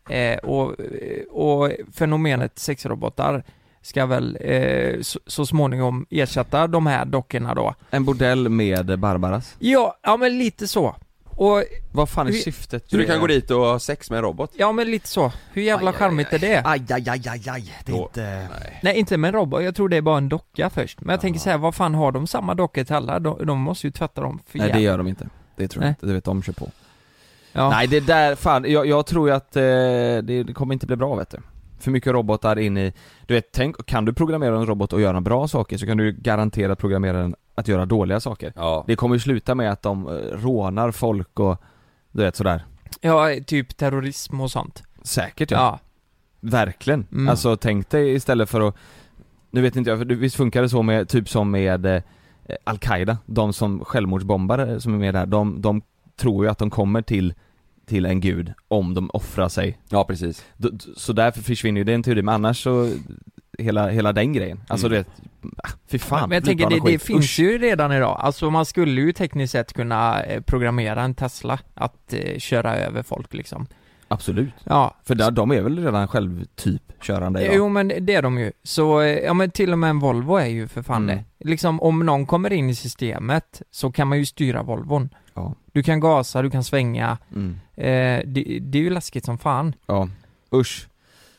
F: Eh, och, eh, och fenomenet sexrobotar ska väl eh, så, så småningom ersätta de här dockorna då.
E: En bordell med Barbaras.
F: Ja, ja men lite så. Och,
E: Vad fan är
F: Hur-
E: syftet?
D: Så du kan gå dit och ha sex med en robot?
F: ja men lite så. Hur jävla charmigt är det?
E: Aj, aj, aj, aj, aj. Det är inte...
F: Nej inte med en robot, jag tror det är bara en docka först. Men jag tänker så här, vad fan har de samma dockor till alla? De, de måste ju tvätta dem för
E: Nej det
F: jävla-
E: gör de inte. Det tror jag
F: Nej.
E: inte. Du vet, de kör på.
F: Ja.
E: Nej det där, fan, jag, jag tror ju att eh, det, det kommer inte bli bra vet du. För mycket robotar in i, du vet, tänk, kan du programmera en robot och göra bra saker så kan du ju garanterat programmera den att göra dåliga saker.
D: Ja.
E: Det kommer ju sluta med att de eh, rånar folk och, du vet sådär.
F: Ja, typ terrorism och sånt.
E: Säkert ja.
F: Ja.
E: Verkligen.
F: Mm.
E: Alltså tänk dig istället för att, nu vet inte jag, för det- visst funkar det så med, typ som med eh, Al-Qaida, de som självmordsbombare som är med där, de, de tror ju att de kommer till, till en gud om de offrar sig.
D: Ja precis.
E: D- d- Så därför försvinner ju den teorin, men annars så, hela, hela den grejen. Alltså
D: Mm.
E: du vet, ah, fy fan.
F: Men jag tänker det,
E: flygplan och
F: det
E: skit.
F: finns
E: Usch.
F: ju redan idag. Alltså man skulle ju tekniskt sett kunna eh, programmera en Tesla att eh, köra över folk liksom.
E: Absolut.
F: Ja.
E: För där, de är väl redan själv typ körande idag?
F: Jo men det är de ju. Så, eh, ja men till och med en Volvo är ju för fan
E: Mm.
F: det. Liksom om någon kommer in i systemet så kan man ju styra Volvon.
E: Ja.
F: Du kan gasa, du kan svänga.
E: Mm.
F: Eh, det, det är ju läskigt som fan.
E: Ja, usch.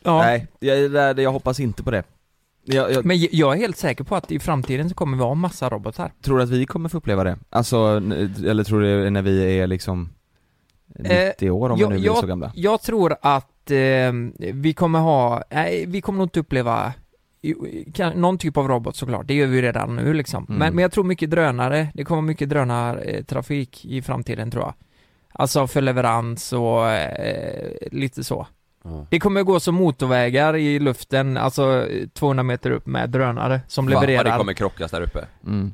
F: Ja.
E: Nej, jag, jag, jag hoppas inte på det. Jag, jag
F: Men j- jag är helt säker på att i framtiden så kommer vi ha massa robotar.
E: tror du att vi kommer få uppleva det? Alltså, n- eller tror du det är när vi är liksom
F: Eh,
E: 90 år om vi nu blir
F: jag,
E: så gamla?
F: Jag tror att eh, vi kommer ha, nej vi kommer nog inte uppleva i- kan, någon typ av robot såklart, det gör vi ju redan nu liksom.
E: Mm.
F: Men, men jag tror mycket drönare, det kommer mycket drönartrafik i framtiden tror jag. Alltså för leverans och eh, lite så.
D: Ja.
F: Det kommer gå som motorvägar i luften, alltså eh, 200 meter upp med drönare som
D: Fan, vad
F: levererar.
D: det kommer krockas där uppe.
E: Mm.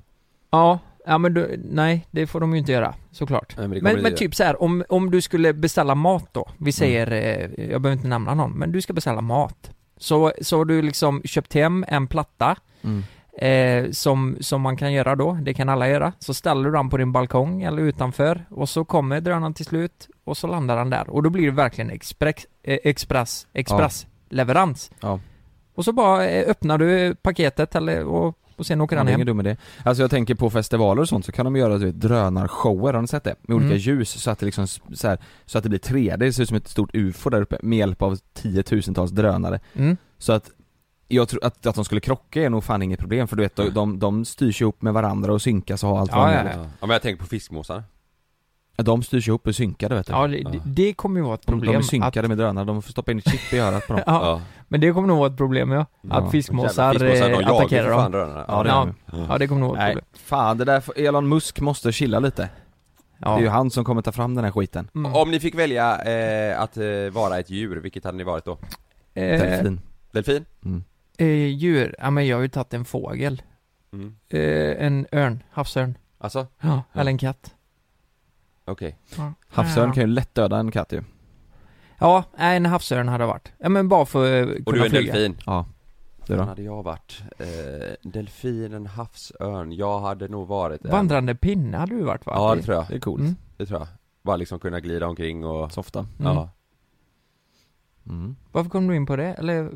F: Ja, ja men du, nej det får de ju inte göra såklart.
D: men det
F: men
D: kommer
F: men,
D: det.
F: typ så här, om, om du skulle beställa mat då,
E: Mm.
F: vi säger, eh, jag behöver inte nämna någon, men du ska beställa mat. Så, så har du liksom köpt hem en platta
E: Mm.
F: eh, som, som man kan göra då, det kan alla göra. Så ställer du den på din balkong eller utanför och så kommer drönaren till slut och så landar den där och då blir det verkligen express, eh, express, express leverans.
E: Ja.
F: Och så bara eh, öppnar du paketet eller, och, och sen åker
E: Ja,
F: den
E: det är
F: hem.
E: ingen dum idé. Alltså jag tänker på festivaler och sånt så kan de göra du vet, drönarshower, har ni sett det? Med olika
F: Mm.
E: ljus så att det liksom, s- så, här, så att det blir 3D, det ser ut som ett stort UFO där uppe med hjälp av tiotusentals drönare.
F: Mm.
E: Så att jag tror att, att de skulle krocka är nog fan inget problem för du vet de, de, de styrs ihop med varandra och synkas och har allt vad de gör.
D: ja. men jag tänker på fiskmåsar.
E: De styrs ihop och synkade vet du.
F: Ja, det, det- det kommer ju vara ett
E: de, de
F: problem.
E: är synkade med drönare, de får stoppa in ett chip i örat på dem.
F: att, ja, Men det kommer nog vara ett problem ja. Att fiskmåsar,
D: Jävla fiskmåsar, de
F: eh,
D: jagar ju
F: attackerar
D: för fan Mm.
F: dem.
D: drönarna.
E: Ja, det
F: ja.
E: gör
F: ja, det kommer nog vara ett
E: Nej,
F: problem.
E: fan det där, får- Elon Musk måste chilla lite.
F: Ja. Mm.
E: Det är ju han som kommer ta fram den här skiten.
D: Om ni fick välja eh, att eh, vara ett djur, vilket hade ni varit då?
F: Eh,
E: Delfin.
D: Delfin?
F: Eh, djur, ja men jag har ju tagit en fågel.
D: Mm.
F: Eh, en örn, havsörn.
D: Alltså?
F: Ja, eller en katt.
D: Okej.
F: Ja.
E: Havsörn
F: Ja.
E: kan ju lätt döda en katt ju.
F: Ja, nej, en havsörn hade jag varit. Ja men bara för att eh, kunna
D: Och du är en
F: flyga.
D: delfin?
E: Ja. Du
D: Vad
E: då?
D: hade jag varit? Eh, delfin, en havsörn, jag hade nog varit en...
F: Vandrande pinne hade du varit va?
D: Ja det tror jag.
E: Det är coolt.
F: Mm.
D: det tror jag. Bara liksom kunna glida omkring och... Softa.
F: Mm.
D: Ja.
E: Mm.
F: Varför kom du in på det? Eller,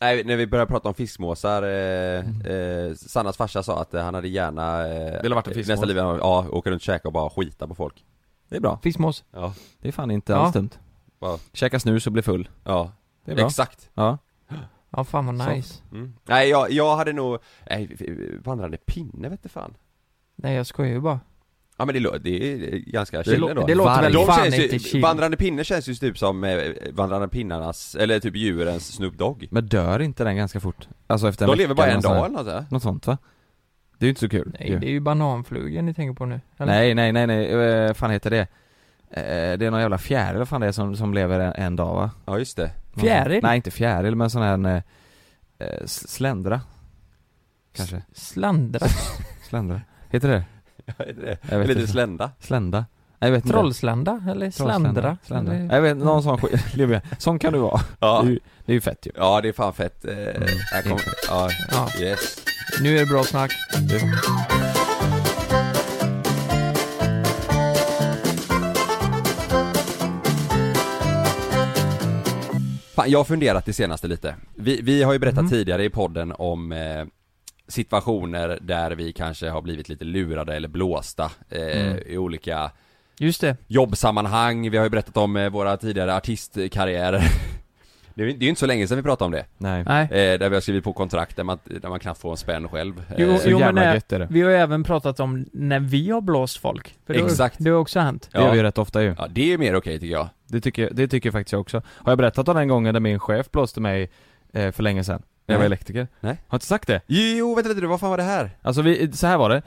D: Nej, när vi började prata om fiskmåsar,
E: Mm.
D: eh, eh, Sannas farsa sa att eh, han hade gärna eh,
E: Velat varit en fiskmås.
D: nästa liv, ja, åka runt och käka och bara skita på folk
E: Det är bra.
F: Fiskmås.
D: Ja
E: Det är fan inte
D: Ja.
E: alls dumt.
D: Ja.
E: Käka snus och bli full.
D: Ja.
E: Det är bra.
D: Exakt.
E: Ja.
F: ja fan vad nice.
D: Mm. Nej jag, jag hade nog, nej, vandrande pinne vet du fan
F: Nej jag skojar ju bara.
D: Ja men det, lå- det är ganska
F: Det
D: chill
F: lå-
D: ändå
F: det låter väl
D: De
F: fan
D: känns ju,
F: inte chill.
D: Vandrande pinne känns ju typ som eh, vandrande pinnarnas, eller typ djurens Snoop Dogg
E: Men dör inte den ganska fort? Alltså efter en
D: De lever
E: vecka
D: bara en
E: något sånt
D: dag alltså.
E: här.
D: eller något sådär.
E: Något sånt va? Det är ju inte så kul
F: Nej det är ju bananflugan ni tänker på nu. eller?
E: nej, nej, nej, nej, eh, fan heter det? Eh, Det är någon jävla fjäril vad fan det är som, som lever en, en dag va?
D: Ja just det
F: Fjäril?
E: Nej inte fjäril men sån här eh, eh, s- sländra Kanske
F: Slandra.
E: Sländra, heter det
D: Ja, heter det?
E: Jag vet
D: Eller
E: inte.
D: slända?
E: Slända? Nej, jag vet inte.
F: Trollslända, eller sländra?
E: Sländra.
F: Eller-
E: Jag vet inte, någon sån skit, lever jag. sån kan du vara
D: Ja.
E: det, är ju, det är ju fett ju
D: Ja det är fan fett, eh, här kommer, ja,
F: Ja.
D: yes
F: Nu är det bra snack.
D: Fan, jag har funderat det senaste lite. Vi, vi har ju berättat tidigare i podden om eh, situationer där vi kanske har blivit lite lurade eller blåsta eh,
F: Mm.
D: i olika
F: Just det.
D: jobbsammanhang. Vi har ju berättat om eh, våra tidigare artistkarriärer. Det är ju det är ju inte så länge sedan vi pratade om det.
E: Nej.
F: Nej.
D: Eh, där vi har skrivit på kontrakt där man, där man knappt får en spänn själv.
F: Jo,
D: Eh,
F: jo men eh, vi har ju även pratat om när vi har blåst folk. För det har-
D: Exakt.
F: Det har också hänt.
E: Det gör vi ju rätt ofta ju
D: Ja, det är ju mer okej tycker jag.
E: Det tycker, det tycker faktiskt jag också. Har jag berättat om den gången där min chef blåste mig eh, för länge sedan? När jag var
D: Nej.
E: elektriker?
D: Nej.
E: Har jag inte sagt det?
D: Jo, vänta, vänta, vad fan var det här?
E: Alltså vi, så här var det.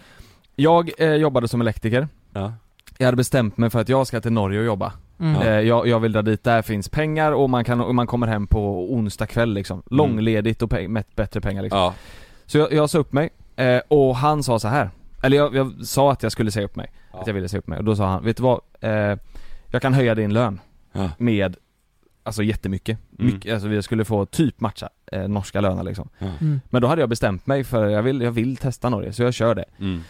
E: Jag eh, jobbade som elektriker.
D: Ja.
E: Jag hade bestämt mig för att jag ska till Norge och jobba.
F: Mm.
E: Eh, jag, jag vill dra dit, där finns pengar och man, kan, och man kommer hem på onsdag kväll liksom.
D: Mm.
E: Långledigt och peng, med bättre pengar liksom.
D: Ja.
E: Så jag, jag sa upp mig, eh, och han sa så här. Eller jag, jag sa att jag skulle säga upp mig. Att jag ville säga upp mig. Och då sa han, vet du vad? Eh, jag kan höja din lön. Med, alltså jättemycket.
D: Mm.
E: Mycket, alltså vi skulle få typ matcha eh, norska löner liksom.
F: Mm.
E: Men då hade jag bestämt mig för jag vill, jag vill testa Norge, så jag kör det.
D: Mm.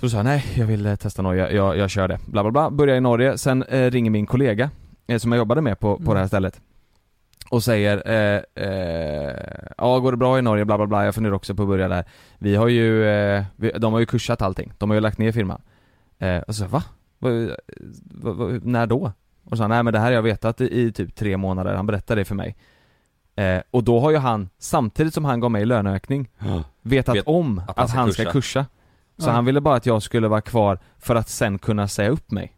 E: Så då sa jag nej, jag vill eh, testa Norge, jag, jag, jag kör det. Bla bla bla, börjar i Norge, sen eh, ringer min kollega eh, som jag jobbade med på, på
F: Mm.
E: det här stället och säger eh, eh, ja går det bra i Norge bla bla bla, jag funderar också på att börja där. Vi har ju, eh, vi, de har ju kursat allting, de har ju lagt ner firman. Eh, och så sa jag, va? Vad- vad- vad- När då? Och så sa han, nej men det här har jag vetat i, i typ tre månader, han berättade det för mig. Eh, och då har ju han, samtidigt som han gav mig löneökning, vetat
D: Vet
E: om
D: att
E: att
D: han
E: han,
D: ska
E: ska
D: kursa.
E: kursa. Så
F: Ja.
E: han ville bara att jag skulle vara kvar för att sen kunna säga upp mig.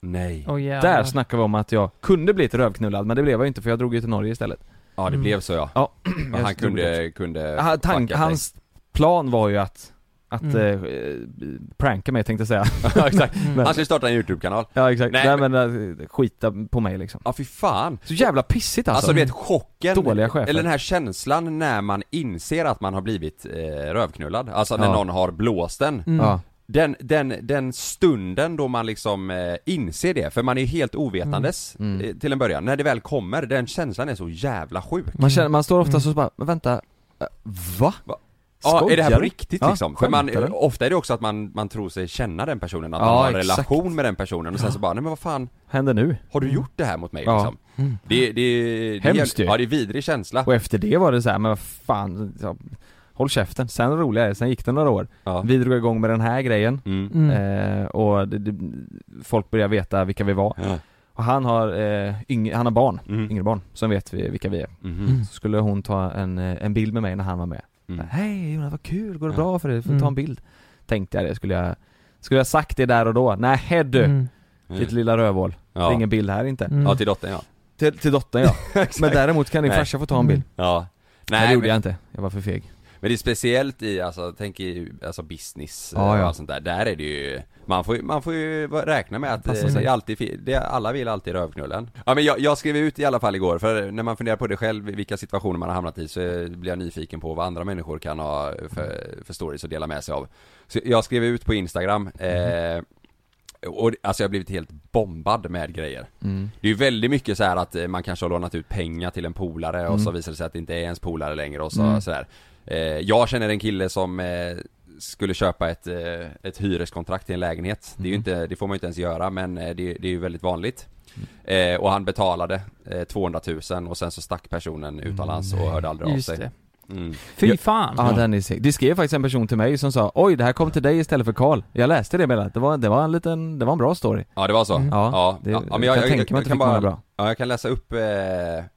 D: Nej.
F: Åh, Oh, jävlar. Mm.
E: Där snackar vi om att jag kunde bli ett rövknullad, men det blev jag ju inte för jag drog ju till Norge istället.
D: Ja, det blev så ja.
E: Ja.
D: Men han kunde, kunde
E: Han, Mm. tank,
D: fucka sig.
E: hans plan var ju att, att
D: Mm.
E: eh, eh, pranka mig tänkte jag säga.
D: Ja exakt,
E: Men-
D: han skulle starta en YouTube-kanal
E: Ja exakt,
D: Nej,
E: nej, men eh, skita på mig liksom.
D: Ja fy fan.
E: Så jävla pissigt alltså.
D: Alltså du vet chocken,
E: Dåliga chefer.
D: eller den här känslan när man inser att man har blivit eh, rövknullad, alltså när
E: Ja.
D: någon har blåst den
E: Mm. Ja.
D: den, den, den stunden då man liksom eh, inser det, för man är helt ovetandes
E: Mm. Mm.
D: eh, till en början, när det väl kommer, den känslan är så jävla sjuk
E: Man, känner, man står ofta så bara, men vänta, eh, va?
D: Ja, är det här
E: Skojar
D: på
E: du?
D: riktigt
E: Ja,
D: liksom? För man,
E: skämtar du?
D: ofta är det också att man, man tror sig känna den personen, att
E: Ja,
D: man har en
E: exakt.
D: relation med den personen och sen så bara, nej men vad fan
E: Händer nu?
D: Har du gjort det här mot mig
E: Ja.
D: liksom?
E: Mm.
D: Det, det, det,
E: Hemskt ju.
D: Ja, det är vidrig känsla
E: Och efter det var det så här, men vad fan, ja, håll käften. Sen det roliga är, sen gick det några år. Vi drog igång med den här grejen
F: Mm.
E: eh, och det, det, folk började veta vilka vi var. Och han har, eh, yng, han har barn,
D: Mm.
E: yngre barn, som vet vi, vilka vi är.
F: Mhm.
E: Så skulle hon ta en, eh, en bild med mig när han var med.
D: Mm.
E: Hej Jonas, vad kul, går det bra för dig?
F: Mm.
E: Får vi ta en bild? Tänkte jag det, skulle jag, skulle jag sagt det där och då? Nej du!
F: Mm.
E: Ditt lilla rövhål.
D: Ja.
E: Det är ingen bild här inte.
F: Mm.
D: Ja, till dottern ja
E: Till, till dottern ja. men däremot kan din
D: Nej.
E: farsa få ta en bild.
D: Ja
E: Nej, det gjorde
D: men-
E: jag inte, jag var för feg.
D: Men det är speciellt i, alltså, tänk i, alltså business eh,
E: Ja, ja.
D: och allt sånt där, där är det ju Man får ju, man får ju va- räkna med att eh,
E: Passa
D: det
E: sig.
D: är alltid, fi- det, alla vill alltid rövknullen Ja men jag, jag skrev ut i alla fall igår, för när man funderar på det själv, vilka situationer man har hamnat i så eh, blir jag nyfiken på vad andra människor kan ha för, för stories att dela med sig av Så jag skrev ut på Instagram, eh,
E: Mm-hmm.
D: och det- alltså jag har blivit helt bombad med grejer
E: Mm.
D: det är ju väldigt mycket så här att eh, man kanske har lånat ut pengar till en polare och
E: Mm.
D: så visar det sig att det inte är ens polare längre och så,
E: Mm.
D: sådär. Eh, jag känner en kille som, eh, skulle köpa ett, eh, ett hyreskontrakt till en lägenhet.
L: Mm.
D: Det, är ju inte, det får man ju inte ens göra men eh, det, det är ju väldigt vanligt.
L: Mm.
D: Eh, och han betalade eh, 200 000 och sen så stack personen utomlands och hörde aldrig av
F: Just
D: sig.
F: det.
D: Mm.
F: Fy fan!
L: Ja, den är seg. Det skrev faktiskt en person till mig som sa Oj, det här kom till dig istället för Karl. Jag läste det meddelandet, det var, det var en liten, det var en bra story.
D: Ja det var så?
L: Mm.
D: Ja, ja.
L: det-
D: ja, men
L: jag tänker mig att det fick många bra.
D: Ja, jag kan läsa upp, eh,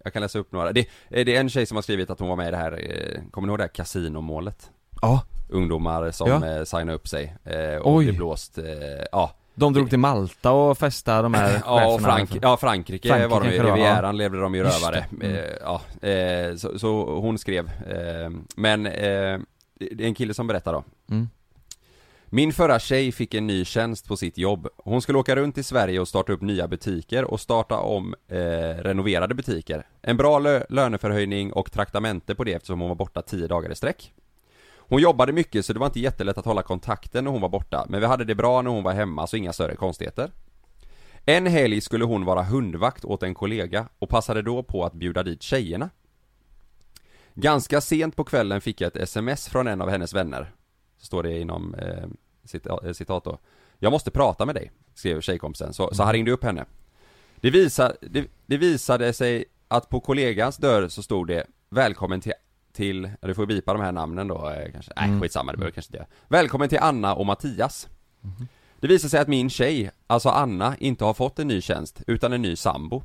D: jag kan läsa upp några. Det, eh, det är en tjej som har skrivit att hon var med i det här, eh, kommer ni ihåg det här kasinomålet?
L: Ja.
D: Ungdomar som
L: Ja.
D: eh, signade upp sig eh, och
L: Oj.
D: blev blåst, eh, ja
L: De drog till Malta och festade de här
D: Ja, och
L: cheferna.
D: Frank- ja Frankrike, var de ju,
L: kan det vara, ja.
D: Rivieran levde de ju
L: Just
D: rövare.
L: det. Mm.
D: Eh, ja, eh, så, så hon skrev. Eh, men eh, det är en kille som berättar då.
L: Mm.
D: Min förra tjej fick en ny tjänst på sitt jobb. Hon skulle åka runt i Sverige och starta upp nya butiker och starta om eh, renoverade butiker. En bra lö- löneförhöjning och traktamente på det eftersom hon var borta 10 dagar i sträck. Hon jobbade mycket så det var inte jättelätt att hålla kontakten när hon var borta, men vi hade det bra när hon var hemma så inga större konstigheter. En helg skulle hon vara hundvakt åt en kollega och passade då på att bjuda dit tjejerna. Ganska sent på kvällen fick jag ett sms från en av hennes vänner. Så står det inom eh, cita- eh, citat då. Jag måste prata med dig, skrev tjejkompisen, så, så han ringde upp henne. Det, visar, det, det visade sig att på kollegans dörr så stod det Välkommen till, till ja, du får bipa de här namnen då eh, kanske, nej
L: Mm.
D: skitsamma det behöver kanske inte göra. Välkommen till Anna och Mattias. Det visar sig att min tjej, alltså Anna, inte har fått en ny tjänst utan en ny sambo.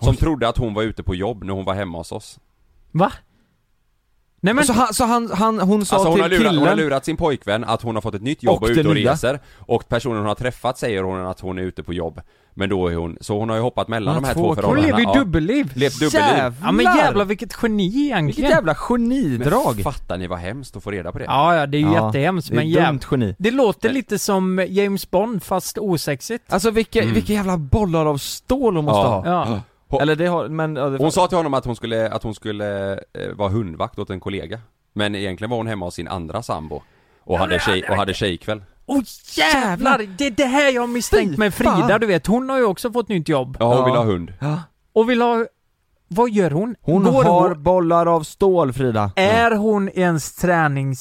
D: Som trodde att hon var ute på jobb när hon var hemma hos oss.
F: Va? Nej men...
L: Så han, så han, han hon sa
D: alltså hon
L: till
D: har, lurat, hon har
L: killen
D: lurat sin pojkvän att hon har fått ett nytt jobb
L: Och
D: och, är
L: det
D: ute och
L: nya.
D: reser Och personen hon har träffat säger hon att hon är ute på jobb Men då är hon, så hon har ju hoppat mellan
L: Hon
D: de
L: har
D: här
L: två
D: två
L: killar. Hon
D: förhållandena
L: lever ju
D: Ja,
L: dubbelliv.
D: Levt dubbelliv
F: Ja men jävlar vilket geni egentligen!
L: Vilket jävla genidrag!
D: Men fattar ni vad hemskt att få reda på det?
F: Ja, ja det är ju jättehemskt
L: det är
F: men
L: dumt
F: jävligt
L: geni.
F: Det låter lite som James Bond fast osexigt
L: Alltså vilka,
D: Mm.
L: vilka jävla bollar av stål hon måste
D: Ja.
L: ha.
F: Ja.
L: Eller det har, men... ja, det-
D: Hon sa till honom att hon skulle, att hon skulle eh, vara hundvakt åt en kollega Men egentligen var hon hemma hos sin andra sambo Och hade, tjej, och hade tjejkväll
F: Åh oh, jävlar! Det är det här jag har misstänkt med Frida
L: fan.
F: du vet, hon har ju också fått nytt jobb
D: Ja, hon vill ha hund
L: Ja.
F: Och vill ha... Vad gör hon?
L: Hon
F: Går
L: har bollar av stål Frida.
F: Är hon ens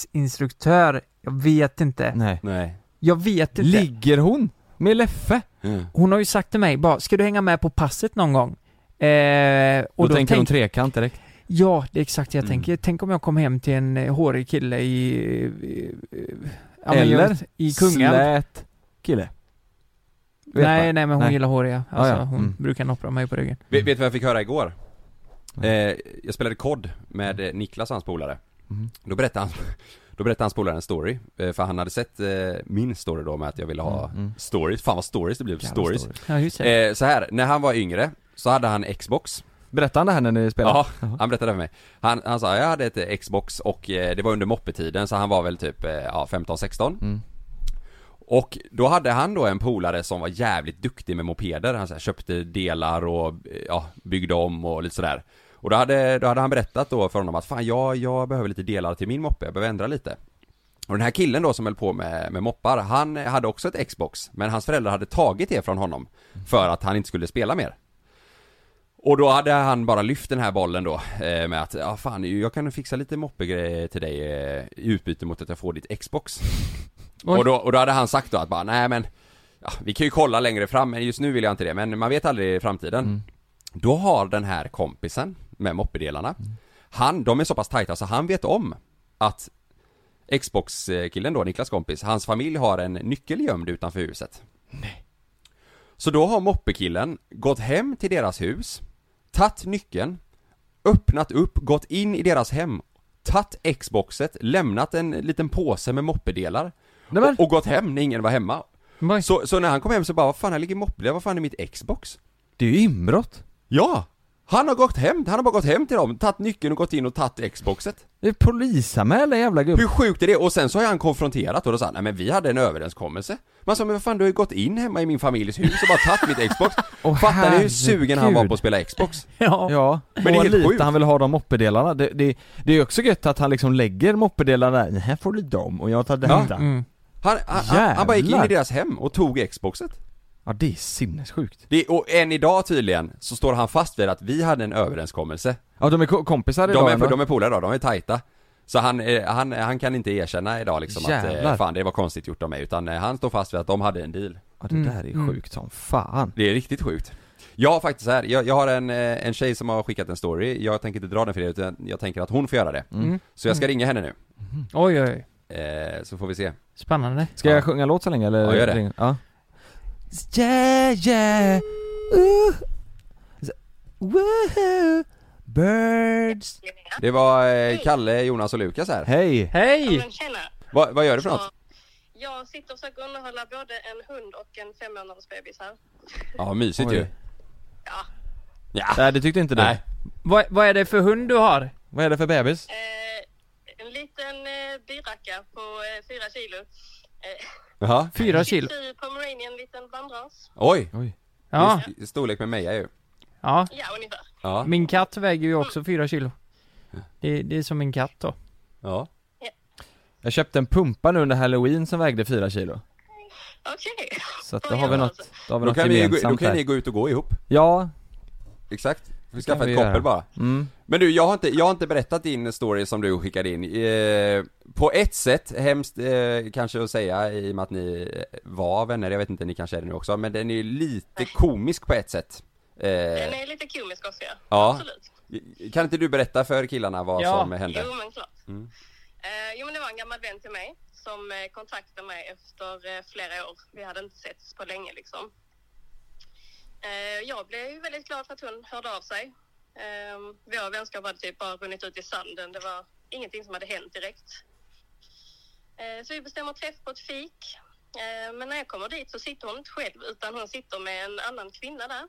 F: träningsinstruktör? Jag vet inte
L: Nej.
D: Nej
F: Jag vet inte
L: Ligger hon? Med Leffe?
F: Hon har ju sagt till mig bara, ska du hänga med på passet någon gång? Eh,
L: Och
F: och
L: då,
F: då,
L: tänker Mm. hon
F: tänk-
L: trekant direkt.
F: Ja, det är exakt det jag tänker. Tänk om jag kom hem till en eh, hårig kille i... i- ja, men jag
L: Eller?
F: vet- I Kungälv.
L: Slät kille. Vet
F: nej,
L: man.
F: nej men hon
L: Nej.
F: gillar håriga. Alltså,
L: Ah, ja.
F: hon
L: Mm.
F: brukar noppra mig på ryggen.
D: Vet, vet du vad jag fick höra igår? Eh,
L: Mm.
D: jag spelade kod med eh, Niklas och hans polare
L: Mhm.
D: Då berättade han Då berättade hans polare en story eh, För han hade sett eh, min story då med att jag ville ha stories Fan vad stories det blev,
L: Mm, Jävla
D: stories
L: stories.
F: Ja, just det.
D: eh, Så här, när han var yngre Så hade han Xbox
L: Berätta han det här när ni spelade?
D: Ja, han berättade för mig. Han, han sa, jag hade ett eh, Xbox och eh, det var under moppetiden så han var väl typ, eh, ja 15-16.
L: Mm.
D: Och då hade han då en polare som var jävligt duktig med mopeder. Han så här, köpte delar och eh, ja, byggde om och lite sådär. Och då hade, då hade han berättat då för honom att fan jag, jag behöver lite delar till min moppe, jag behöver ändra lite. Och den här killen då som höll på med, med moppar, han hade också ett Xbox. Men hans föräldrar hade tagit det från honom. För att han inte skulle spela mer. Och då hade han bara lyft den här bollen då eh, med att ja fan jag kan fixa lite moppegrejer till dig eh, i utbyte mot att jag får ditt Xbox.
F: Oj.
D: och, då, och då hade han sagt då att bara nej men ja, vi kan ju kolla längre fram men just nu vill jag inte det men man vet aldrig i framtiden. Då har den här kompisen med moppedelarna, han, de är så pass tajta så han vet om att Xbox-killen då, Niklas kompis, hans familj har en nyckel gömd utanför huset. Så då har moppekillen gått hem till deras hus, tagit nyckeln, öppnat upp, gått in i deras hem, tagit Xboxet, lämnat en liten påse med moppedelar och, och gått hem när ingen var hemma. Så, så när han kom hem så bara, vad fan här ligger moppedelar, vad fan är mitt Xbox?
L: Det är ju inbrott.
D: Ja! Han har gått hem, han har bara gått hem till dem, tagit nyckeln och gått in och tagit Xboxet.
L: Det är polisanmälan jävla gubbe.
D: Hur sjukt är det? Och sen så har han konfronterat och då sa han, nej men vi hade en överenskommelse. Man sa, men vad fan du har ju gått in hemma i min familjs hus och bara tagit mitt Xbox.
L: Åh,
D: Fattar ni hur sugen han var
L: herregud.
D: på att spela Xbox?
F: Ja.
L: Ja, men det är helt lite sjukt. han vill ha de moppedelarna. Det, det, det är ju också gött att han liksom lägger moppedelarna där, här får du dem och jag tar detta. Ja,
F: Mm.
D: Han, han, han, han bara gick in
L: Jävlar.
D: i deras hem och tog Xboxet.
L: det är sinnessjukt.
D: Det, och än idag tydligen så står han fast vid att vi hade en överenskommelse.
L: Ja de är ko- kompisar idag
D: De är,
L: ändå.
D: de är polare idag, de är tajta. Så han, eh, han, han kan inte erkänna idag liksom att eh,
L: Jävlar.
D: fan det var konstigt gjort av mig utan eh, han står fast vid att de hade en deal
L: Ja, det
F: Mm.
L: där är sjukt som fan.
D: Det är riktigt sjukt Jag har faktiskt så här, jag, jag har en, eh, en tjej som har skickat en story, jag tänker inte dra den för er utan jag tänker att hon får göra det
F: Mm.
D: Så jag ska
F: Mm.
D: ringa henne nu,
F: Oj, oj, oj.
D: eh, så får vi se
F: Spännande.
L: Ska jag sjunga en låt så länge eller?
D: Ja, gör det.
L: Ja.
M: Yeah, yeah. Ooh. Så- Woohoo. Birds.
D: Det var eh, Kalle, Jonas och Lukas här
L: Hej!
F: Hej!
D: Vad, vad gör du för något?
G: Jag sitter och försöker underhålla både en hund och en fem månaders bebis här.
D: Ja, mysigt
L: Oj.
D: ju Ja.
L: Nej det tyckte inte du?
D: Nej.
F: Vad, vad är det för hund du har?
L: Vad är det för bebis?
G: Eh, En liten eh, byracka på eh, fyra kilo. Eh,
D: Jaha
F: Fyra kilo?
G: Fy pomeranian, liten bandras.
D: Oj!
F: Ja.
D: I Storlek med Meja ju
F: Ja.
G: Ja, ungefär.
D: Ja.
F: Min katt väger ju också fyra kilo. Det, det är som min katt då.
D: Ja
L: Jag köpte en pumpa nu under halloween som vägde 4 kilo
G: Okej.
L: Så att då har vi något, då har vi
D: Då
L: något
D: kan, vi, gå-
L: gemensamt
D: då kan
L: där.
D: ni gå ut och gå ihop
L: Ja,
D: Exakt, vi
L: Det
D: skaffar
L: kan vi
D: ett
L: göra.
D: koppel bara
L: Mm.
D: Men du, jag har, inte, jag har inte berättat din story som du skickade in eh, På ett sätt, hemskt eh, kanske att säga i och med att ni eh, var vänner, jag vet inte, ni kanske är det nu också Men den är ju lite komisk på ett sätt eh,
G: Den är lite komisk också ja.
D: Ja
G: Absolut.
D: Kan inte du berätta för killarna vad som hände?
G: Jo, men klart.
D: Mm.
G: Eh, jo, men det var en gammal vän till mig som eh, kontaktade mig efter eh, flera år. Vi hade inte setts på länge liksom. Eh, jag blev ju väldigt glad för att hon hörde av sig. Eh, vår vänskap hade typ bara runnit ut i sanden. Det var ingenting som hade hänt direkt. Eh, så vi bestämmer träff på ett fik. Eh, men när jag kommer dit så sitter hon inte själv utan hon sitter med en annan kvinna där.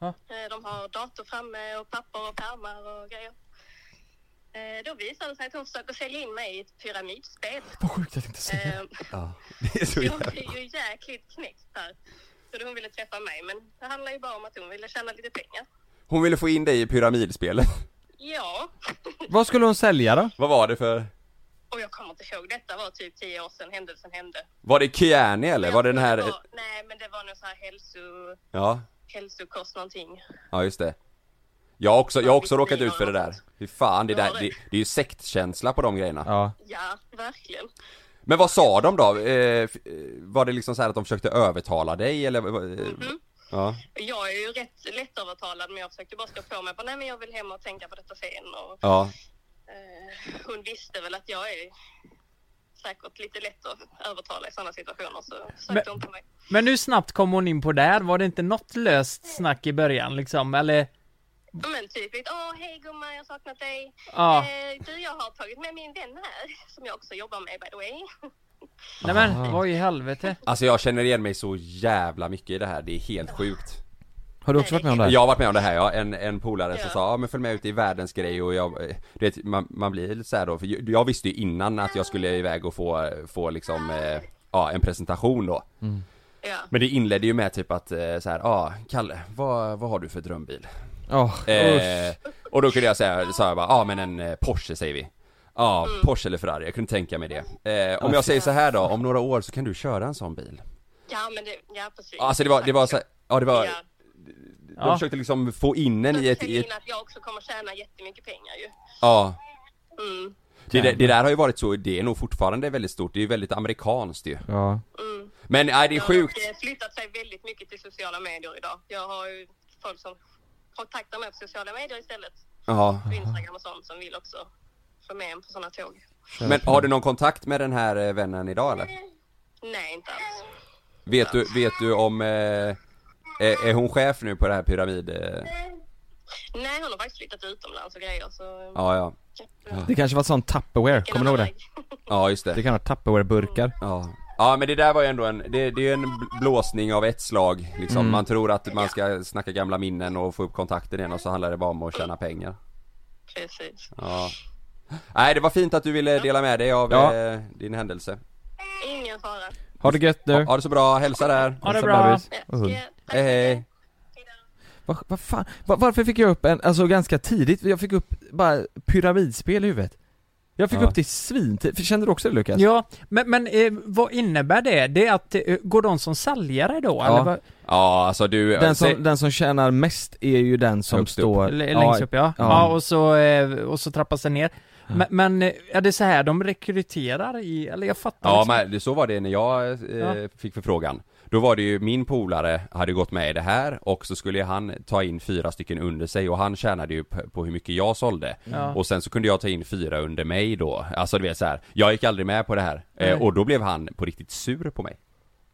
F: Ja.
G: Eh, de har dator framme och papper och pärmar och grejer. Eh, Då visade det sig att hon försöker sälja in mig i ett pyramidspel.
L: Vad sjukt att inte säga.
G: Ehm,
D: Ja, det är så
G: Jag
D: jävla...
G: blev ju jäkligt knäckt här. Så hon ville träffa mig, men det handlar ju bara om att hon ville tjäna lite pengar.
D: Hon ville få in dig i pyramidspelet
G: Ja,
L: vad skulle hon sälja då?
D: Vad var det för?
G: och jag kommer inte ihåg. Detta var typ tio år sedan händelsen hände.
D: Var det Kiani eller? Var det den här?
G: Ja, nej, men det var någon sån här hälso...
D: Ja,
G: hälsokost någonting.
D: ja just det Jag har också, jag har också råkat ut för det där Fy fan, det, där, det, det är ju sektkänsla på de grejerna
L: Ja
G: Ja, verkligen.
D: Men vad sa de då? Eh, f- eh, var det liksom så här att de försökte övertala dig eller? vad- eh,
G: Mhm.
D: Ja,
G: Jag är ju rätt lättövertalad, men jag försökte bara stå på mig. Bara, nej, men jag vill hem och tänka på detta sen. Och
D: ja,
G: Eh, hon visste väl att jag är säkert lite lätt att övertala i sådana situationer så
F: Men-
G: sökte hon på mig.
F: Men hur snabbt kom hon in på där? Var det inte något löst snack i början liksom? Eller?
G: Ja, Men typ lite, åh hej gumman jag har saknat dig.
F: Ja.
G: Eh, du jag har tagit med min vän här som jag också jobbar med by the way.
F: Nej men, vad i helvete?
D: alltså jag känner igen mig så jävla mycket i det här, det är helt sjukt
L: Har du också varit med om det här?
D: Jag har varit med om det här ja, en, en polare som sa ja men följ med ut i världens grej och jag, eh, du vet, man, man blir lite så här då, för jag- jag visste ju innan att jag skulle iväg och få, få liksom, eh, ja en presentation då Men det inledde ju med typ att eh, så här, ja ah, Kalle, vad, vad har du för drömbil?
L: Åh,
D: Eh,
L: usch.
D: och då kunde jag säga, sa jag bara, ja ah, men en eh, Porsche säger vi Ja, ah, Porsche eller Ferrari, jag kunde tänka mig det eh, Om
L: Ja,
D: jag
L: fy
D: säger så här då, om några år så kan du köra en sån bil
G: Ja men det, ja precis.
D: Alltså det var, det var så här, ja det var
G: Ja.
D: De
G: Ja.
D: försökte liksom få in en i ett, i
G: Tänk
D: ett
G: in att jag också kommer tjäna jättemycket pengar ju.
D: ja
G: Mm.
D: det, där- det där har ju varit så, det är nog fortfarande väldigt stort, det är ju väldigt amerikanskt ju
L: Ja
G: Mm.
D: Men nej det är sjukt
G: Det har flyttat sig väldigt mycket till sociala medier idag. Jag har ju folk som kontaktar mig på sociala medier istället.
D: Ja
G: På Instagram och sånt som vill också få med en på sådana tåg.
D: Men har du någon kontakt med den här eh, vännen idag eller?
G: Nej inte alls.
D: Vet du, vet du om, eh, är, är hon chef nu på det här pyramid... Eh,
G: Nej, hon har faktiskt flyttat utomlands och grejer så...
D: ja ja
L: Det kanske var ett sånt Tupperware, kommer du ihåg det?
D: Ja just det
L: Det kan vara Tupperware-burkar
D: Ja Ja men det där var ju ändå en, det, det är ju en bl- blåsning av ett slag liksom.
L: Mm.
D: Man tror att man ska snacka gamla minnen och få upp kontakten igen och så handlar det bara om att tjäna pengar
G: Precis.
D: Ja Nej det var fint att du ville dela med dig av
L: Ja.
D: eh, din händelse
G: Ingen fara.
L: Ha det gött nu!
D: ha, ha det så bra, hälsa där!
L: Ha det Hälsa bra. bebis och hund.
D: Hej hej!
L: Vad vad fan, Va- varför fick jag upp en, alltså ganska tidigt, jag fick upp bara pyramidspel i huvudet Jag fick
F: Ja.
L: upp det svintidigt, kände du också det Lukas?
F: Ja, men, men eh, vad innebär det? Det är att, eh, går de som säljare då? Eller vad?
D: Ja alltså du,
L: Den
D: säg-
L: som, den som tjänar mest är ju den som
D: Högst upp.
L: står
F: L- Längst upp ja. ja. och, så, eh, och så trappas det ner. Men, men eh, är det så här de rekryterar i, eller jag fattar
D: Ja
F: liksom.
D: men det- så var det när jag eh,
F: Ja.
D: fick förfrågan Då var det ju min polare hade gått med i det här och så skulle ju han ta in fyra stycken under sig och han tjänade ju p- på hur mycket jag sålde
N: Ja.
D: Och sen så kunde jag ta in fyra under mig då Alltså du vet så här. jag gick aldrig med på det här
E: Nej.
D: eh, och då blev han på riktigt sur på mig